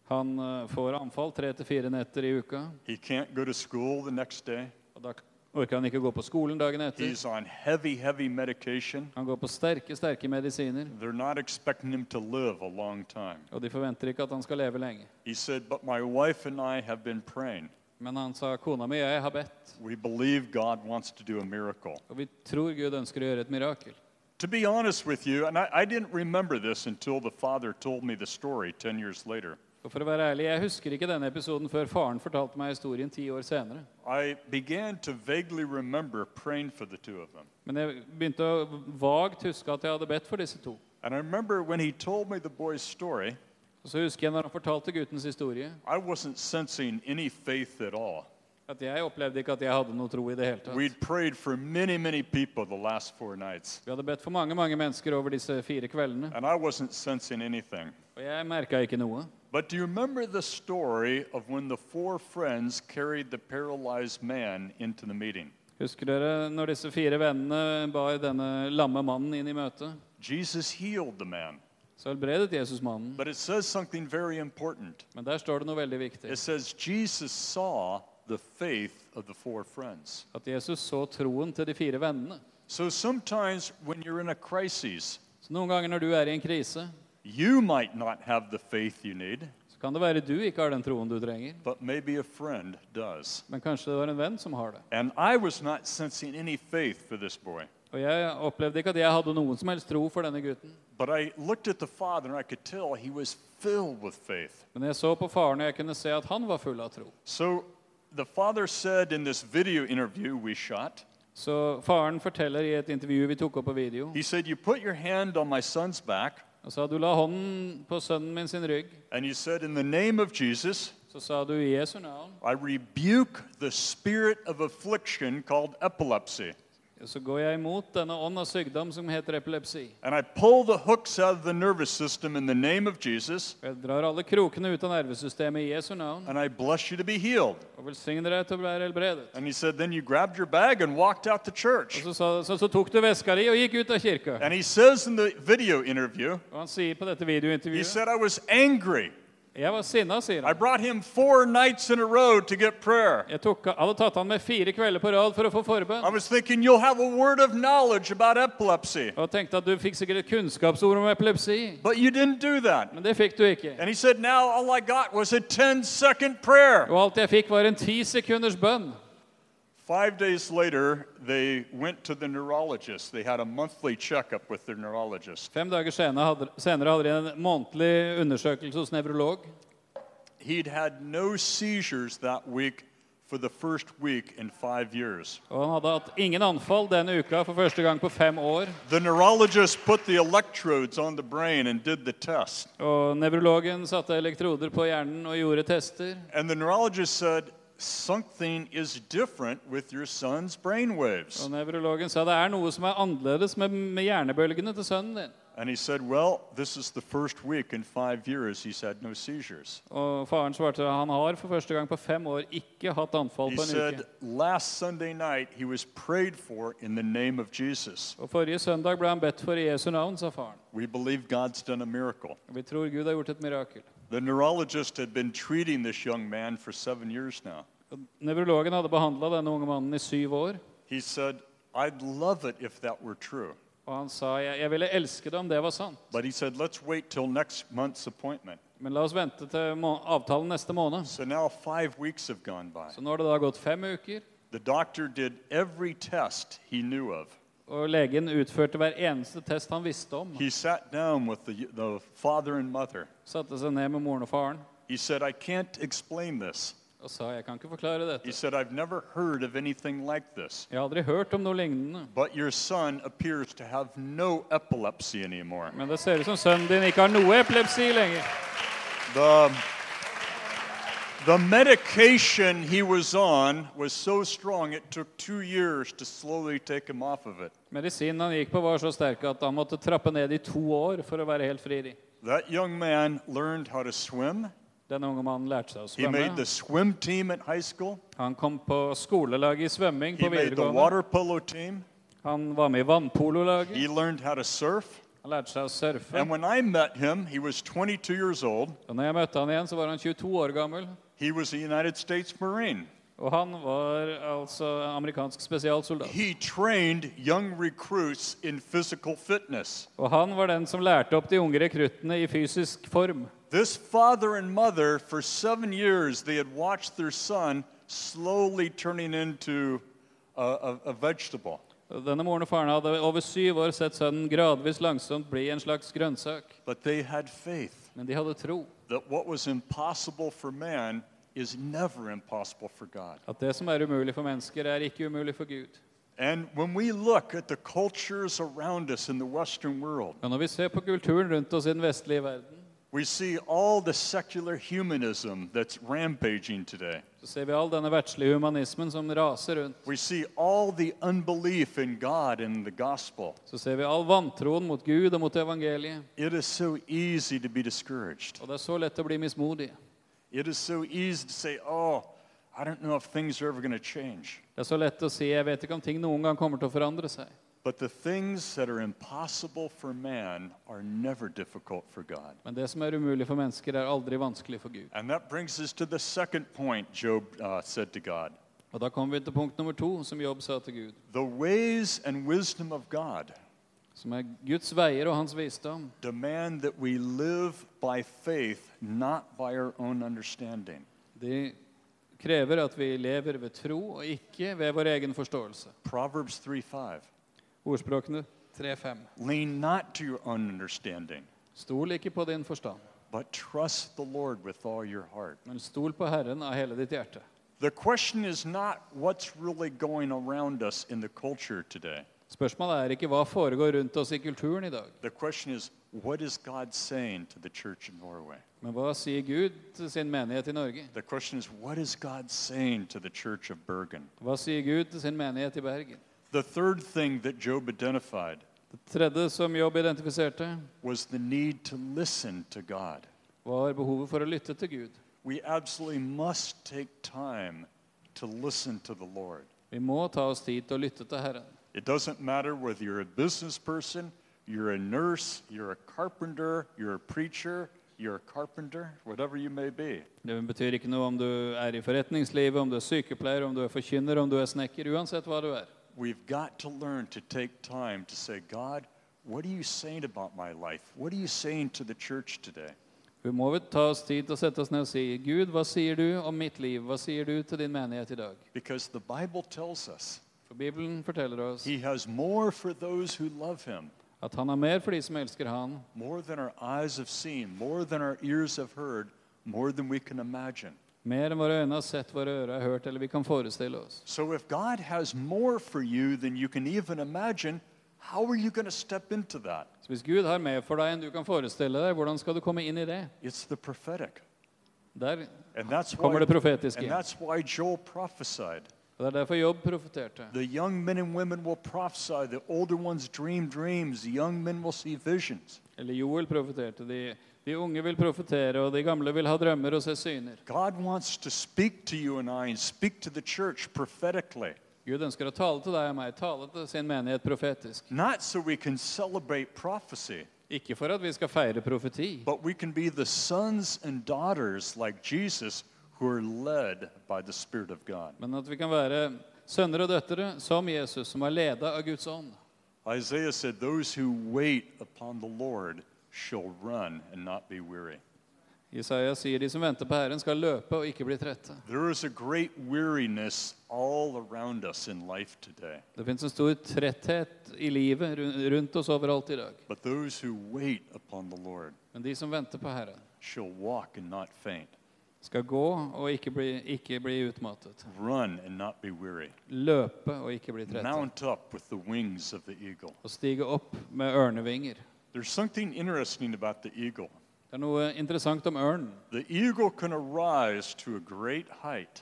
Han eh, får anfall tre til fire netter i uka. He can't go to school the next day. Og da orker han ikke gå på skolen dagen etter. He's on heavy, heavy medication. Han går på sterke, sterke medisiner, They're not expecting him to live a long time. og de forventer ikke at han skal leve lenge. He said, But my wife and I have been praying. Men han sa, 'Kona mi, jeg har bedt', We believe God wants to do a miracle. og vi tror Gud ønsker å gjøre et mirakel. To be honest with you, and I, I didn't remember this until the father told me the story 10 years later. Og for å være ærlig, jeg husker ikke denne episoden før faren fortalte meg historien ti år senere. I began to vaguely remember praying for the two of them. Men jeg begynte å vagt huske at jeg hadde bedt for disse to. And I remember when he told me the boy's story, Og så husker jeg når han fortalte guttens historie, I wasn't sensing any faith at all. at jeg opplevde ikke at jeg hadde noe tro i det hele tatt. We'd prayed for many, many people the last four nights, Vi hadde bedt for mange mange mennesker over disse fire kveldene, and I wasn't sensing anything. og jeg merka ikke noe. But do you remember the story of when the four friends carried the paralyzed man into the meeting? Husker dere når disse fire vennene bar denne lamme mannen inn i møtet? Jesus healed the man, Så helbredet Jesus mannen. but it says something very important. Men der står det noe veldig viktig. It says Jesus saw the faith of the four friends. At Jesus så troen til de fire vennene. So sometimes when you're in a crisis, Så noen ganger når du er i en krise, you might not have the faith you need, så kan det være du ikke har den troen du trenger, but maybe a friend does. men kanskje det var en venn som har det. And I was not sensing any faith for this boy. Og jeg opplevde ikke at jeg hadde noen som helst tro for denne gutten. But I looked at the father and I could tell he was filled with faith. Men jeg så på faren, og jeg kunne se at han var full av tro. So the father said in this video interview we shot, Så faren forteller i et intervju vi tok opp på video, he said, You put your hand on my son's back, og sa du la hånden på sønnen min sin rygg. and you said, In the name of Jesus, Så sa du i Jesu navn, I rebuke the spirit of affliction called epilepsy, så går jeg imot denne ånd av sykdom som heter epilepsi. and I pull the hooks out of the nervous system in the name of Jesus, Og jeg drar alle krokene ut av nervesystemet i Jesu navn and I bless you to be healed. og velsigner deg til å bli helbredet. And he said, Then you grabbed your bag and walked out to church. Og så, sa, så, så tok du veska di og gikk ut av kirka. And he says in the video interview, Og han sier på he dette videointervjuet said, I was angry. Jeg var sinna, sier I han. brought him four nights in a row to get prayer. Jeg tok, hadde tatt han med fire kvelder på rad for å få forbønn. I was thinking you'll have a word of knowledge about epilepsy, Og tenkte at du fikk sikkert et kunnskapsord om epilepsi. but you didn't do that. Men det fikk du ikke. And he said, Now all I got was a 10 second prayer. Og alt jeg fikk, var en ti sekunders bønn. Five days later, they went to the neurologist. They had a monthly checkup with their neurologist. Fem dager senere hadde, senere hadde de en månedlig undersøkelse hos nevrolog. He'd had no seizures that week for the first week in five years. Og han hadde hatt ingen anfall denne uka for første gang på fem år. The neurologist put the electrodes on the brain and did the test. Og nevrologen satte elektroder på hjernen og gjorde tester. And the neurologist said, Something is different with your son's brain waves. Og nevrologen sa det er noe som er annerledes med, med hjernebølgene til sønnen din. And he said, Well, this is the first week in five years he's had no seizures. Og faren svarte at han har for første gang på fem år ikke hatt anfall He på en said, uke. Last Sunday night he was prayed for in the name of Jesus. Og forrige søndag ble han bedt for i Jesu navn, sa faren. We believe God's done a miracle. Og vi tror Gud har gjort et mirakel. The neurologist had been treating this young man for seven years now. Og Nevrologen hadde behandla denne unge mannen i syv år. He said, I'd love it if that were true. Og han sa jeg, jeg ville elske det om det var sant. But he said, Let's wait till next month's appointment. Men la oss vente til må avtalen neste måned. So now five weeks have gone by. Så nå har det da gått fem uker, The doctor did every test he knew of. og legen utførte hver eneste test han visste om. He sat down with the, the father and mother. Satte seg ned med moren og faren He said, I can't explain this. og sa jeg kan ikke forklare He dette. said, I've never heard of anything like this. Jeg har aldri hørt om noe lignende. But your son appears to have no epilepsy anymore. Men det ser ut som sønnen din ikke har noe epilepsi lenger. The, the medication he was on was so strong, it took two years to slowly take him off of it. Medisinen han gikk på, var så sterk at han måtte trappe ned i to år for å være helt frieri. That young man learned how to swim. Denne unge mannen lærte seg å He made the svømme. swim team at high school, Han kom på skolelaget i svømming he på made the videregående. water polo team, Han var med i vannpololaget. he learned how to surf. Han lærte seg å surfe. And when I met him, he was 22 years old. Og når jeg møtte han igjen, så var han 22 år gammel. He was a United States Marine. Og han var altså amerikansk spesialsoldat. He trained young recruits in physical fitness. Og han var den som lærte opp de unge rekruttene i fysisk form. This father and mother, for seven years, they had watched their son slowly turning into a, a, a vegetable. Og Denne moren og faren hadde over syv år sett sønnen gradvis langsomt bli en slags grønnsak. But they had faith Men de hadde tro. that what was impossible for man is never impossible for God. At det som er umulig for mennesker, er ikke umulig for Gud. And when we look at the cultures around us in the Western world, Og når vi ser på kulturen rundt oss i den vestlige verden, we see all the secular humanism that's rampaging today. så ser vi all denne verdslige humanismen som raser rundt. We see all the unbelief in God and the gospel. Så ser vi all vantroen mot Gud og mot evangeliet. It is so easy to be discouraged. Og det er så lett å bli mismodig. It is so easy to say, oh, I don't know if things are ever going to change. Det er så lett å si 'jeg vet ikke om ting noen gang kommer til å forandre seg'. But the things that are impossible for man are never difficult for God. Men det som er umulig for mennesker, er aldri vanskelig for Gud. And that brings us to the second point Job uh, said to God Og da kommer vi til punkt nummer to, som Jobb sa til Gud. The ways and wisdom of God Som er Guds veier og hans visdom. demand that we live by faith, not by our own understanding. De krever at vi lever ved tro og ikke ved vår egen forståelse. Proverbs 3 5. Ordspråkene 3.5. Lean not to your own understanding, Stol ikke på din forstand, but trust the Lord with all your heart. men stol på Herren av hele ditt hjerte. The question is not what's really going around us in the culture today. Spørsmålet er ikke hva foregår rundt oss i kulturen i dag, The question is what is God saying to the church in Norway? men hva sier Gud til sin menighet i Norge? The question is what is God saying to the church of Bergen? Hva sier Gud til sin menighet i Bergen? The third thing that Job identified Det tredje som Jobb identifiserte, was the need to listen to God. var behovet for å lytte til Gud. We absolutely must take time to listen to the Lord. Vi må ta oss tid til å lytte til Herren. It doesn't matter whether you're a business person, you're a nurse, you're a carpenter, you're a preacher, you're a carpenter, whatever you may be. Det betyr ikke noe om du er i forretningslivet, om du er sykepleier, om du er forkynner, om du er snekker, uansett hva du er. We've got to learn to take time to say, God, what are you saying about my life? What are you saying to the church today? Vi må vel ta oss tid til å sette oss ned og si Gud, hva sier du om mitt liv? Hva sier du til din menighet i dag? Because the Bible tells us For Bibelen forteller oss He has more for those who love Him, at han har mer for de som elsker han, more than our eyes have seen, more than our ears have heard, more than we can imagine. mer enn våre øyne har sett, våre ører har hørt, eller vi kan forestille oss. So if God has more for you than you can even imagine, how are you going to step into that? Så hvis Gud har mer for deg enn du kan forestille deg, hvordan skal du komme inn i det? It's the prophetic. Der, And that's Kommer why, det profetiske and inn. that's why Joel prophesied. og det er derfor Jobb profeterte. The young men and women will prophesy. The older ones dream dreams. The young men will see visions. Eller Joel profeterte. De, de unge vil profetere, og de gamle vil ha drømmer og se syner. God wants to speak to you and I and speak to the church prophetically, Gud ønsker å tale til deg og meg, tale til sin menighet profetisk. not so we can celebrate prophecy, Ikke for at vi skal feire profeti, but we can be the sons and daughters like Jesus who are led by the Spirit of God. men at vi kan være sønner og døtre som Jesus, som er leda av Guds ånd. Isaiah said, Those who wait upon the Lord shall run and not be weary. Isaiah sier de som venter på Herren, skal løpe og ikke bli trette. There is a great weariness all around us in life today. Det fins en stor tretthet i livet ru- rundt oss overalt i dag. But those who wait upon the Lord Men de som venter på Herren, shall walk and not faint, skal gå og ikke bli, ikke bli utmattet. run and not be weary, Løpe og ikke bli trette. mount up with the wings of the eagle. Og stige opp med ørnevinger. There's something interesting about the eagle. Det er noe interessant om ørnen. The eagle can arise to a great height,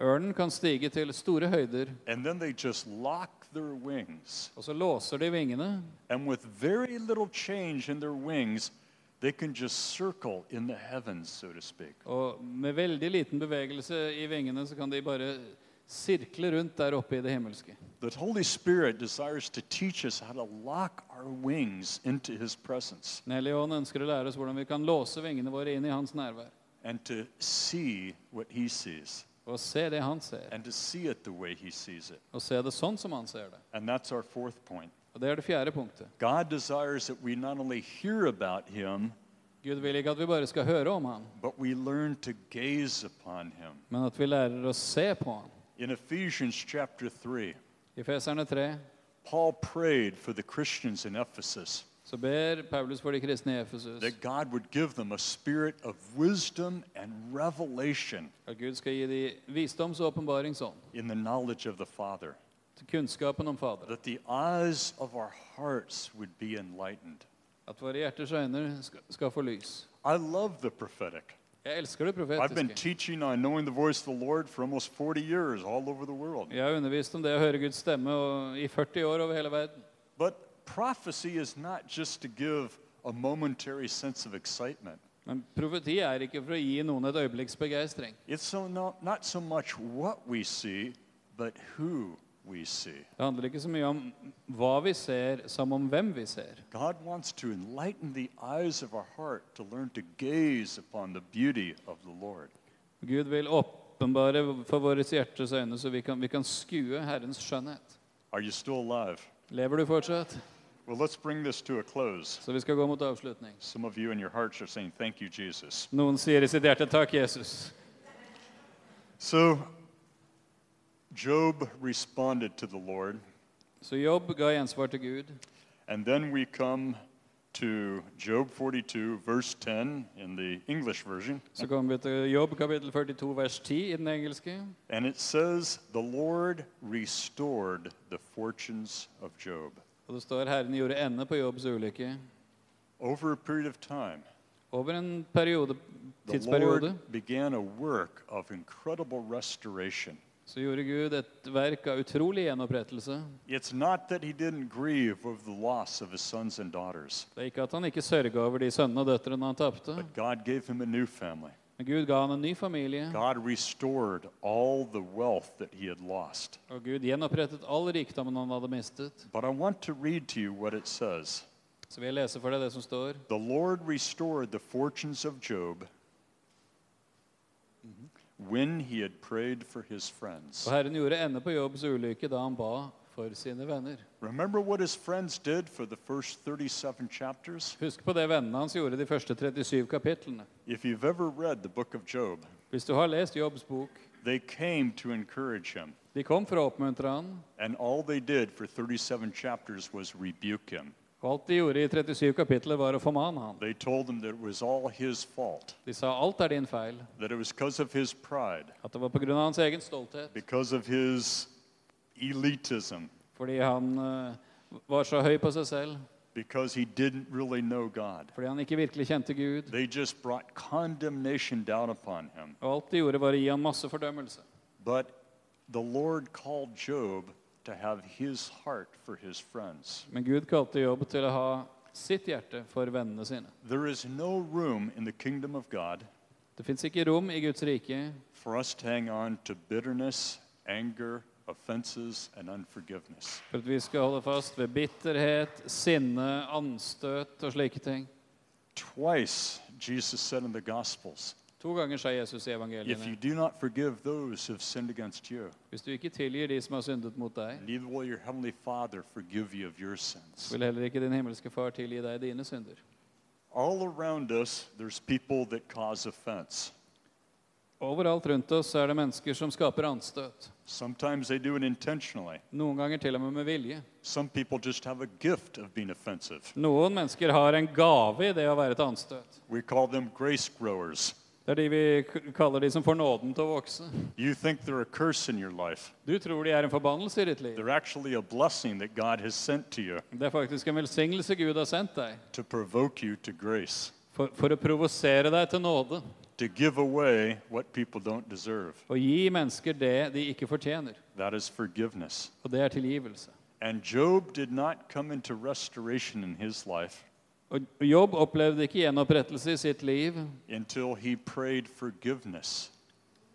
Ørnen kan stige til store høyder, and then they just lock their wings. og så låser de vingene. And with very little change in their wings, they can just circle in the heavens, so to speak. Og med veldig liten bevegelse i vingene så kan de bare sirkle rundt der oppe i det himmelske. The Holy Spirit desires to teach us how to lock our wings into His presence Den hellige ånd ønsker å lære oss hvordan vi kan låse vingene våre inn i hans nærvær. and to see what He sees Og se det han ser, and to see it the way He sees it. og se det sånn som han ser det. And that's our fourth point. Og det er det fjerde punktet. God desires that we not only hear about Him, Gud vil ikke at vi bare skal høre om han, but we learn to gaze upon Him. men at vi lærer å se på han. In Ephesians chapter 3, I Feserne 3 Paul prayed for the Christians in Ephesus. så ber Paulus for de kristne i Efesus that God would give them a spirit of wisdom and revelation at Gud skal gi dem visdoms- og åpenbaringsånd. in the knowledge of the Father, til kunnskapen om Faderen. that the eyes of our hearts would be enlightened. At våre hjerters øyne skal, skal få lys. I love the prophetic. Jeg elsker det I've been profetiske. teaching on knowing the voice of the Lord for almost 40 years all over the world. Jeg har undervist om det å høre Guds stemme og, i 40 år over hele verden. But prophecy is not just to give a momentary sense of excitement. Men profeti er ikke for å gi noen et øyeblikks begeistring. It's so not, not so much what we see, but who we see. Det handler ikke så mye om hva vi ser, som om hvem vi ser. God wants to enlighten the eyes of our heart to learn to gaze upon the beauty of the Lord. Gud vil åpenbare for våre hjertes øyne, så vi kan, vi kan skue Herrens skjønnhet. Are you still alive? Lever du fortsatt? Well, let's bring this to a close. Så vi skal gå mot avslutning. Some of you in your hearts are saying, Thank you, Jesus. Noen sier i sitt hjerte 'Takk, Jesus'. So, Job responded to the Lord Så Jobb ga gjensvar til Gud. And then we come to Job 42, verse 10 in the English version. Så kommer vi til Jobb kapittel 42 vers 10 i den engelske. And it says, The Lord restored the fortunes of Job. Og det står Herren gjorde ende på Jobbs ulykke. Over a period of time, Over en periode, the tidsperiode Lord began a work of incredible restoration. så gjorde Gud et verk av utrolig gjenopprettelse. It's not that he didn't grieve over the loss of his sons and daughters, Det er ikke at han ikke sørga over de sønnene og døtrene han tapte. but God gave him a new family. Men Gud ga han en ny familie, God restored all the wealth that he had lost. og Gud gjenopprettet all rikdommen han hadde mistet. But I want to read to you what it says. Så vil jeg lese for deg det som står. The Lord restored the fortunes of Job when he had prayed for his friends. Og Herren gjorde ende på Jobbs ulykke da han ba for sine venner. Remember what his friends did for the first 37 chapters? Husk på det vennene hans gjorde de første 37 kapitlene. If you've ever read the book of Job, Hvis du har lest Jobbs bok they came to encourage him, De kom for å oppmuntre han, and all they did for 37 chapters was rebuke him. og alt de gjorde i 37 kapitler, var å formane han. They told him that it was all his fault, De sa alt er din feil, that it was because of his pride, at det var pga. hans egen stolthet, because of his elitism, fordi han eh, var så høy på seg selv, because he didn't really know God. fordi han ikke virkelig kjente Gud. They just brought condemnation down upon him. Og alt de gjorde, var å gi han masse fordømmelse. But the Lord called Job to have his heart for his friends. Men Gud kalte Jobb til å ha sitt hjerte for vennene sine. There is no room in the kingdom of God Det fins ikke rom i Guds rike for us to hang on to bitterness, anger, offenses, and unforgiveness. for at vi skal holde fast ved bitterhet, sinne, anstøt og slike ting. Twice Jesus said in the Gospels, To ganger sa Jesus i If you evangeliene do not forgive those who have sinned against you, hvis du ikke tilgir de som har syndet mot deg, neither will your heavenly Father forgive you of your sins. vil heller ikke din himmelske far tilgi deg dine synder. All around us, there's people that cause offense. Overalt rundt oss er det mennesker som skaper anstøt. Sometimes they do it intentionally. Noen ganger til og med med vilje. Some people just have a gift of being offensive. Noen mennesker har en gave i det å være et anstøt. We call them grace growers. Det er de vi k- kaller de som får nåden til å vokse. You think they're a curse in your life. Du tror de er en forbannelse i ditt liv. They're actually a blessing that God has sent to you Det er faktisk en velsignelse Gud har sendt deg to provoke you to grace, for, for å provosere deg til nåde to give away what people don't deserve. og gi mennesker det de ikke fortjener. That is forgiveness. Og det er tilgivelse. And Job did not come into restoration in his life Og og Jobb opplevde ikke gjenopprettelse i sitt liv until he prayed forgiveness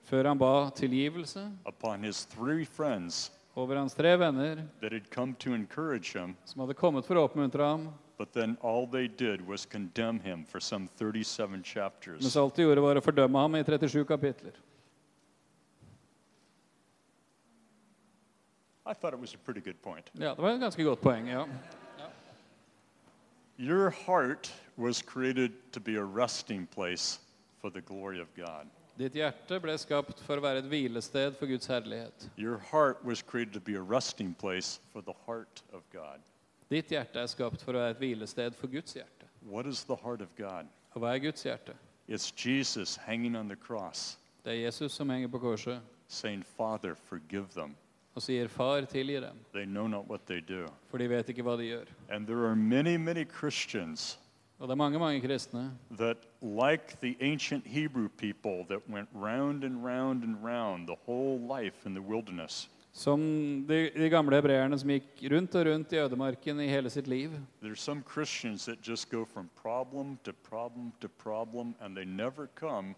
før han ba tilgivelse upon his three friends over hans tre venner that had come to encourage him som hadde kommet for å oppmuntre ham, But then all they did was condemn him for some 37 mens chapters. alt de gjorde, var å fordømme ham i 37 kapitler. I thought it was a pretty good point. Ja, det var et ganske godt poeng, ja. Your heart was created to be a resting place for the glory of God. Ditt hjerte ble skapt for å være et hvilested for Guds herlighet. Your heart was created to be a resting place for the heart of God. Ditt hjerte er skapt for å være et hvilested for Guds hjerte. What is the heart of God? Og hva er Guds hjerte? It's Jesus hanging on the cross Det er Jesus som henger på korset saying, Father, forgive them. og sier, 'Far, tilgi dem', They know not what they do. for de vet ikke hva de gjør. And there are many, many Christians Og det er mange, mange kristne that, like the ancient Hebrew people that went round and round and round the whole life in the wilderness, som de, de gamle hebreerne som gikk rundt og rundt i ødemarken i hele sitt liv. there's some Christians that just go from problem to problem to problem, and they never come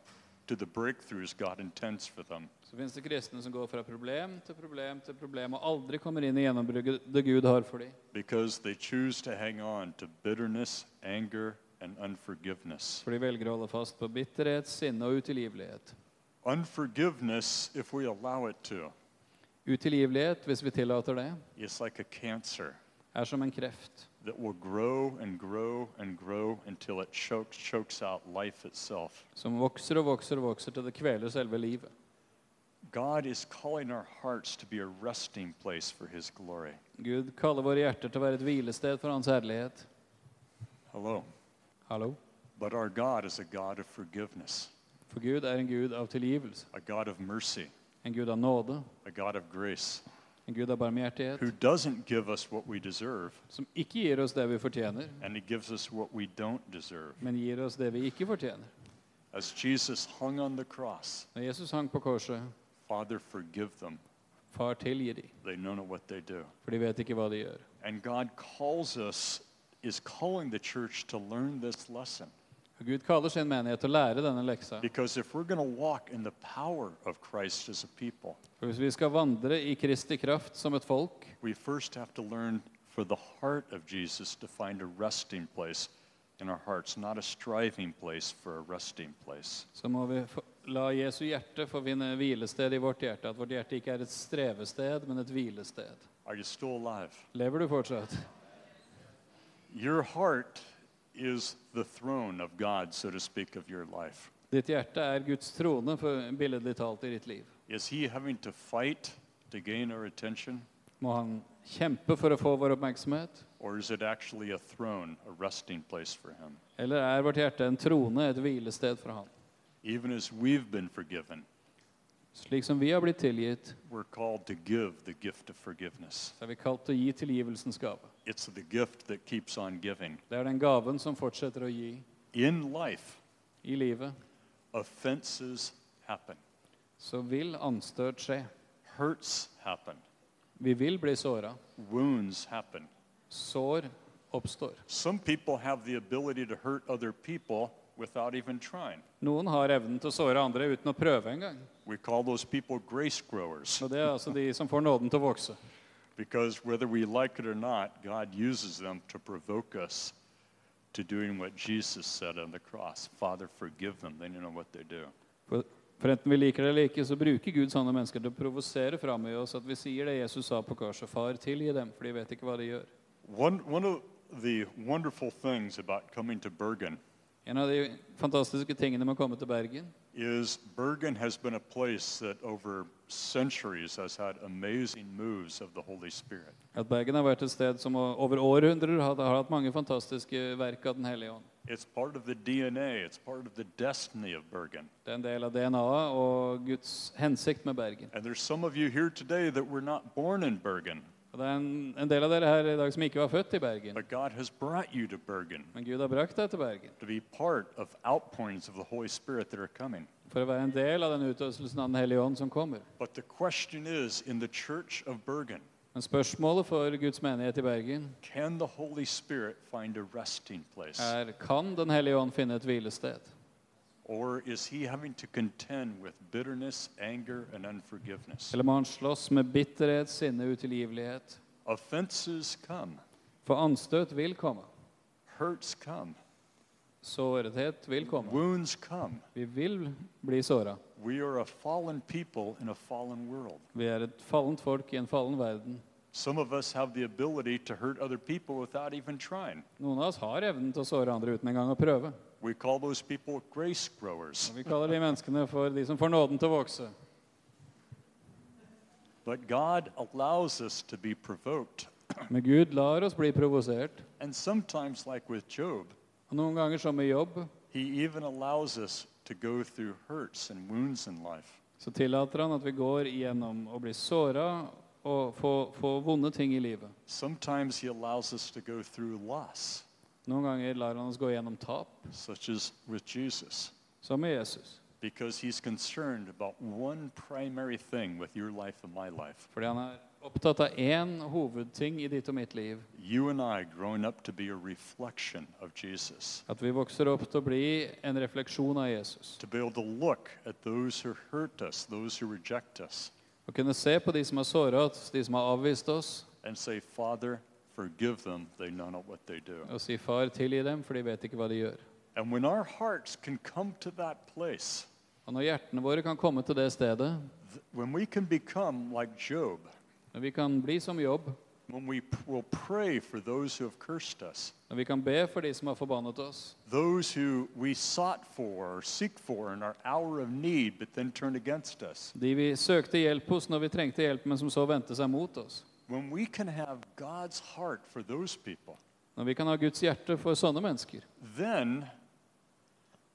to the breakthroughs God intends for them. Så finnes det kristne som går fra problem til problem til problem og aldri kommer inn i gjennombruddet det Gud har for dem. Because they choose to hang on to bitterness, anger, and unforgiveness. For de velger å holde fast på bitterhet, sinne og utilgivelighet. Unforgiveness, if we allow it to, Utilgivelighet, hvis vi tillater det, is like a cancer er som en kreft that will grow and grow and grow until it chokes, chokes out life itself. som vokser og vokser og vokser til det kveler selve livet. God is calling our hearts to be a resting place for His glory. Gud kaller våre hjerter til å være et hvilested for Hans herlighet. Hello. Hallo. But our God is a God of forgiveness, For Gud er en Gud av tilgivelse, a God of mercy, en Gud av nåde, a God of grace, en Gud av barmhjertighet, who doesn't give us what we deserve, som ikke gir oss det vi fortjener, and He gives us what we don't deserve. men gir oss det vi ikke fortjener. As Jesus hung on the cross, Når Jesus hang på korset, Father, forgive them. far tilgi de, They know not what they do. for de vet ikke hva de gjør. And God calls us, is calling the church to learn this lesson. Og Gud kaller sin menighet til å lære denne leksa. Because if we're going to walk in the power of Christ as a people, For hvis vi skal vandre i Kristi kraft som et folk, we first have to learn for the heart of Jesus to find a resting place in our hearts, not a striving place for a resting place. så må vi få- la Jesu hjerte få finne hvilested i vårt hjerte. At vårt hjerte ikke er et strevested, men et hvilested. Are you still alive? Lever du fortsatt? Your heart is the throne of God, so to speak, of your life. Ditt hjerte er Guds trone, for billedlig talt, i ditt liv. Is He having to fight to gain our attention, Må han kjempe for å få vår oppmerksomhet? or is it actually a throne, a resting place for Him? Eller er vårt hjerte en trone, et hvilested for han? Even as we've been forgiven, Slik som vi har blitt tilgitt, we're called to give the gift of forgiveness. så er vi kalt til å gi tilgivelsens gave. It's the gift that keeps on giving. Det er den gaven som fortsetter å gi In life, i livet. offenses happen, Så vil anstøt skje. hurts happen, Vi vil bli såra. wounds happen. Sår oppstår. Some people have the ability to hurt other people without even trying. Noen har evnen til å såre andre uten å prøve engang. We call those people grace growers Og det er altså de som får nåden til å vokse. because whether we like it or not, God uses them to provoke us to doing what Jesus said on the cross Father, forgive them. They don't know what they do. For, for enten vi liker det eller ikke, så bruker Gud sånne mennesker til å provosere fram i oss at vi sier det Jesus sa på korset. Far, tilgi dem, for de vet ikke hva de gjør. One, one of the wonderful things about coming to Bergen En av de fantastiske tingene med å komme til Bergen is Bergen has been a place that over centuries has had amazing moves of the Holy Spirit. er at Bergen har vært et sted som over århundrer har, har hatt mange fantastiske verk av Den hellige ånd. It's part of the DNA, it's part of the destiny of Bergen. Det er en del av DNA-et og Guds hensikt med Bergen. And there's some of you here today that were not born in Bergen, Og det er en, en del av dere her i dag som ikke var født i Bergen, but God has brought you to Bergen men Gud har brakt deg til Bergen. to be part of outpourings of the Holy Spirit that are coming. for å være en del av den utøvelsen av Den hellige ånd som kommer. But the question is in the church of Bergen, Men spørsmålet for Guds menighet i Bergen can the Holy Spirit find a resting place? er kan Den hellige ånd finne et hvilested. Or is he having to contend with bitterness, anger, and unforgiveness? Eller må han slåss med bitterhet, sinne, utilgivelighet? Offenses come, For anstøt vil komme. hurts come, Sårethet vil komme. wounds come. Vi vil bli såra. We are a fallen people in a fallen world. Vi er et fallent folk i en fallen verden. Some of us have the ability to hurt other people without even trying. Noen av oss har evnen til å såre andre uten engang å prøve. We call those people grace growers. Og vi kaller de menneskene for de som får nåden til å vokse. But God allows us to be provoked. Men Gud lar oss bli provosert. And sometimes, like with Job, Og noen ganger, som i jobb, he even allows us to go through hurts and wounds in life. så tillater han at vi går igjennom å bli såra og få, få vonde ting i livet. Sometimes he allows us to go through loss, Noen ganger lar han oss gå igjennom tap, such as with Jesus. som med Jesus. because he's concerned about one primary thing with your life and my life. Fordi han er opptatt av én hovedting i ditt og mitt liv. You and I growing up to be a reflection of Jesus, At vi vokser opp til å bli en refleksjon av Jesus. to be able to look at those who hurt us, those who reject us, Å kunne se på de som har såra oss, de som har avvist oss, and say, Father, forgive them, they know not what they do. og si 'Far, tilgi dem, for de vet ikke hva de gjør'. And when our hearts can come to that place, Og når hjertene våre kan komme til det stedet, th- when we can become like Job, når vi kan bli som jobb, when we p- will pray for those who have cursed us, Når vi kan be for de som har forbannet oss, those who we sought for or seek for in our hour of need, but then turn against us. de vi søkte hjelp hos når vi trengte hjelp, men som så vendte seg mot oss. When we can have God's heart for those people, Når vi kan ha Guds hjerte for sånne mennesker, then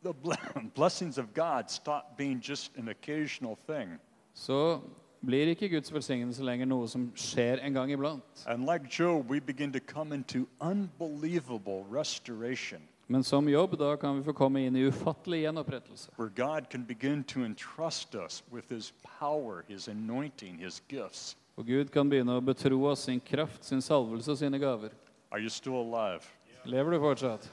the ble- blessings of God stop being just an occasional thing. så blir ikke Guds velsignelse lenger noe som skjer en gang iblant. And like Job, we begin to come into unbelievable restoration Men som jobb da kan vi få komme inn i ufattelig gjenopprettelse. where God can begin to entrust us with his power, his anointing, his gifts. Og Gud kan begynne å betro oss sin kraft, sin salvelse og sine gaver. Are you still alive? Lever du fortsatt?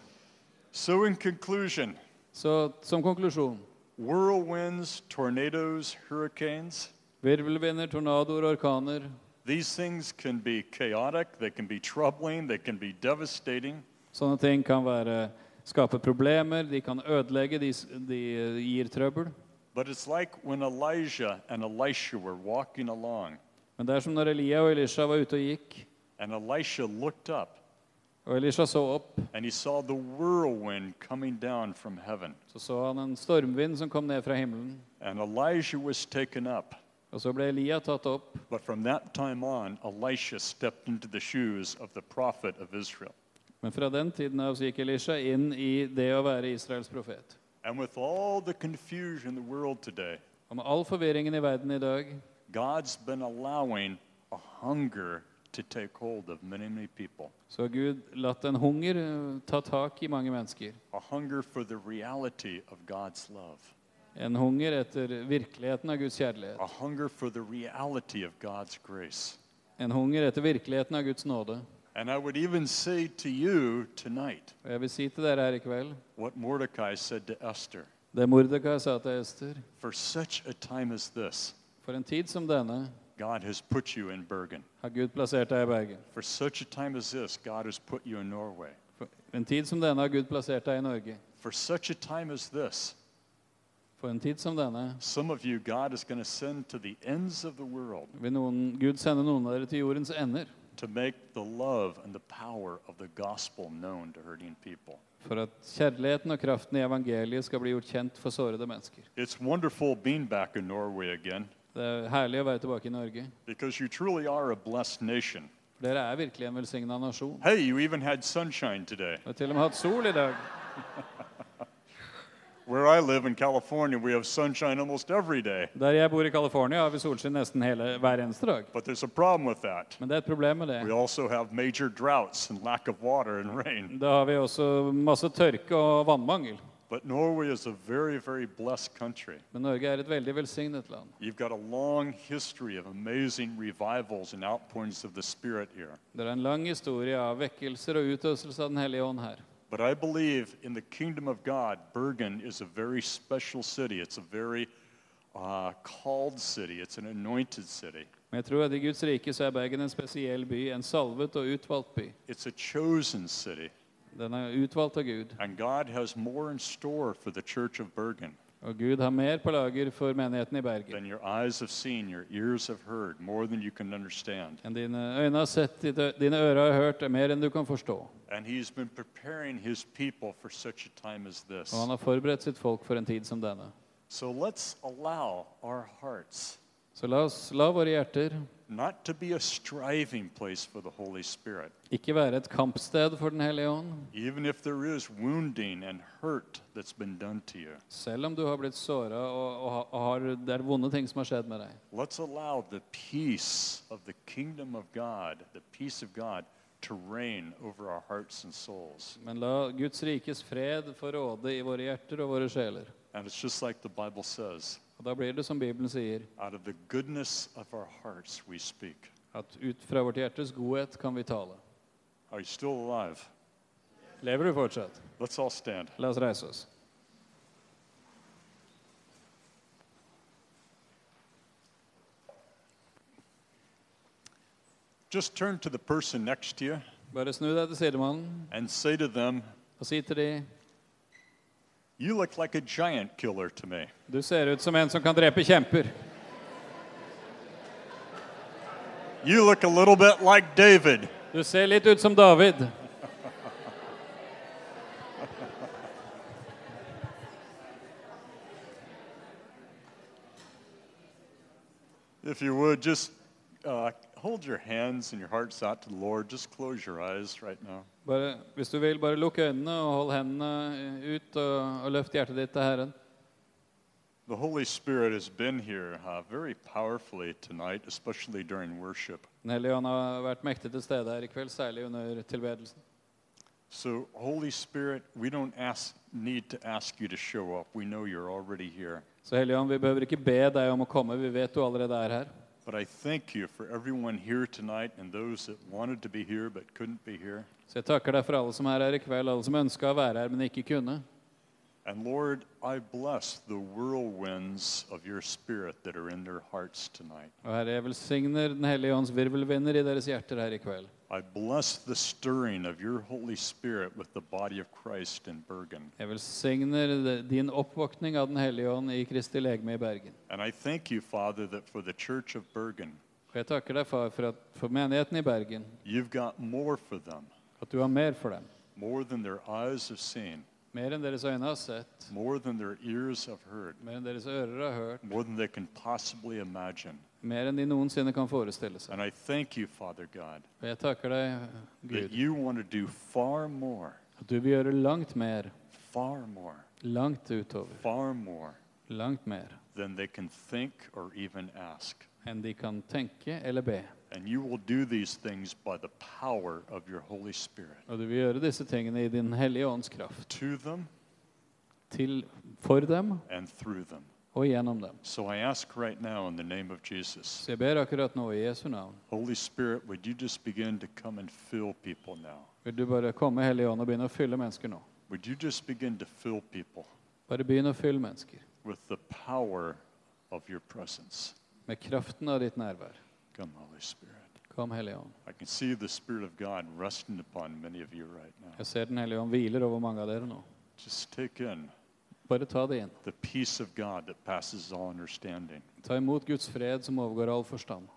So, in conclusion, Så som konklusjon whirlwinds, tornadoes, hurricanes, Virvelvinder, tornadoer, orkaner. these things can be chaotic, they can be troubling, they can be devastating. Sånne ting kan være, skape problemer, de kan ødelegge, de, s- de eh, gir trøbbel. But it's like when Elijah and Elisha were walking along, Men det er som når Elia og Elisha var ute og gikk, and Elisha looked up og Elisha så opp, and he saw the whirlwind coming down from heaven. så så han en stormvind som kom ned fra himmelen. And Elijah was taken up. Og så ble Elia tatt opp. But from that time on, Elisha stepped into the shoes of the prophet of Israel. Men fra den tiden av så gikk Elisha inn i det å være Israels profet. And with all the confusion in the world today, Og med all forvirringen i verden i dag, God's been allowing a hunger to take hold of many, many people. så har Gud latt en hunger eh, ta tak i mange mennesker. A hunger for the reality of God's love, En hunger etter virkeligheten av Guds kjærlighet. a hunger for the reality of God's grace. En hunger etter virkeligheten av Guds nåde. And I would even say to you tonight Og jeg vil si til dere her i kveld what Mordecai said to Esther det Mordekai sa til Ester for such a time as this, For en tid som denne God has put you in Bergen. har Gud plassert deg i Bergen. For such a time as this, God has put you in Norway. For en tid som denne har Gud plassert deg i Norge. For such a time as this, For en tid som denne some of you God is going to send to the ends of the world vil noen, Gud sende noen av dere til jordens ender to make the love and the power of the gospel known to hurting people. for at kjærligheten og kraften i evangeliet skal bli gjort kjent for sårede mennesker. It's wonderful being back in Norway again Det er herlig å være tilbake i Norge. because you truly are a blessed nation. For dere er virkelig en velsigna nasjon. Hey, you even had sunshine today. Vi har til og med hatt sol i dag. Where I live in California, we have sunshine almost every day, Der jeg bor i California, har vi solskinn nesten hele, hver eneste dag. but there's a problem with that. Men det er et problem med det. We also have major droughts and lack of water and rain. Da har vi også masse tørke og vannmangel. But Norway is a very, very blessed country. Men Norge er et veldig velsignet land. You've got a long history of amazing revivals and outpourings of the Spirit here. Det er en lang historie av vekkelser og utøselse av Den hellige ånd her. But I believe in the kingdom of God, Bergen is a very special city. It's a very uh, called city, it's an anointed city. Men jeg tror at i Guds rike så er Bergen en spesiell by, en salvet og utvalgt by. It's a chosen city, Den er utvalgt av Gud. and God has more in store for the church of Bergen Og Gud har mer på lager for menigheten i Bergen than your eyes have seen, your ears have heard, more than you can understand. enn dine øyne har sett, dine dine ører har hørt, er mer enn du kan forstå. Og And He's been preparing His people for such a time as this. han har forberedt sitt folk for en tid som denne. So let's allow our hearts Så la oss la våre hjerter not to be a striving place for the Holy Spirit, ikke være et kampsted for Den hellige ånd, even if there is wounding and hurt that's been done to you. selv om du har blitt såra og, og, ha- og har, det er vonde ting som har skjedd med deg. Let's allow the peace of the kingdom of God, the peace of God, to reign over our hearts and souls. Men la Guds rikes fred få råde i våre hjerter og våre sjeler. And it's just like the Bible says Og da blir det som Bibelen sier, out of the goodness of our hearts we speak. at ut fra vårt hjertes godhet kan vi tale. Are you still alive? Lever du fortsatt? Let's all stand. La oss reise oss. Just turn to the person next to you Bare snu deg til sidemannen and say to them, og si til de You look like a giant killer to me. Du ser ut som en som kan drepe kjemper. You look a little bit like David. Du ser litt ut som David. If you would, just uh, hold your hands and your hearts out to the Lord. Just close your eyes right now. Bare, hvis du vil, bare lukk øynene og hold hendene ut og, og løft hjertet ditt til Herren. The Holy Spirit has been here uh, very powerfully tonight, especially during worship. Den hellige ånd har vært mektig til stede her i kveld, særlig under tilbedelsen. So, Holy Spirit, we don't ask, need to ask you to show up. We know you're already here. Så Hellige Ånd, vi behøver ikke be deg om å komme, vi vet du allerede er her. But I thank you for everyone here tonight and those that wanted to be here but couldn't be here. Så jeg takker deg for alle som er her i kveld, alle som ønska å være her, men ikke kunne. And Lord, I bless the whirlwinds of your spirit that are in their hearts tonight. Og Herre, jeg velsigner Den hellige ånds virvelvinder i deres hjerter her i kveld. I bless the stirring of your Holy Spirit with the body of Christ in Bergen. Jeg velsigner de- din oppvåkning av Den hellige ånd i Kristi legeme i Bergen. And I thank you, Father, that for the church of Bergen, Og jeg takker deg, far, for, at, for menigheten i Bergen, you've got more for them, at du har mer for dem. more than their eyes have seen, Mer enn deres øyne har sett, more than their ears have heard, mer enn deres ører har hørt, more than they can possibly imagine. mer enn de noensinne kan forestille seg. And I thank you, Father God, Og jeg takker deg, that Gud, you want to do far more, at du vil gjøre langt mer, far more, langt utover, far more langt mer than they can think or even ask. enn de kan tenke eller be. And you will do these things by the power of your Holy Spirit Og du vil gjøre disse tingene i Din hellige ånds kraft, to them til, for dem and through them. og gjennom dem. So I ask right now in the name of Jesus, Så jeg ber akkurat nå i Jesu navn. Holy Spirit, would you just begin to come and fill people now? Vil du bare komme, Hellige Ånd, og begynne å fylle mennesker nå? Would you just begin to fill people Bare begynn å fylle mennesker with the power of your presence? med kraften av ditt nærvær. Come, Holy Spirit. Kom, Hellige Ånd. I can see the Spirit of God resting upon many of you right now. Jeg ser Den hellige ånd hviler over mange av dere nå. Just take in Bare ta det inn. the peace of God that passes all understanding. Ta imot Guds fred som overgår all forstand.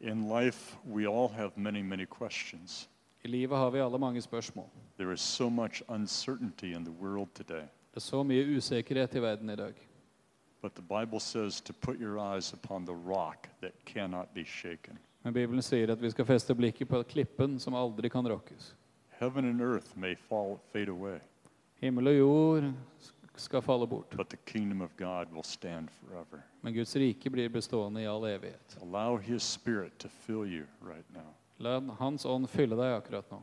In life, we all have many, many questions. I livet har vi alle mange spørsmål. There is so much uncertainty in the world today, Det er så mye usikkerhet i verden i dag. but the Bible says to put your eyes upon the rock that cannot be shaken. Men Bibelen sier at vi skal feste blikket på klippen som aldri kan rokkes. Heaven and earth may fall, fade away, Himmel og jord sk- skal falle bort, but the kingdom of God will stand forever. men Guds rike blir bestående i all evighet. Allow His Spirit to fill you right now. La Hans ånd fylle deg akkurat nå.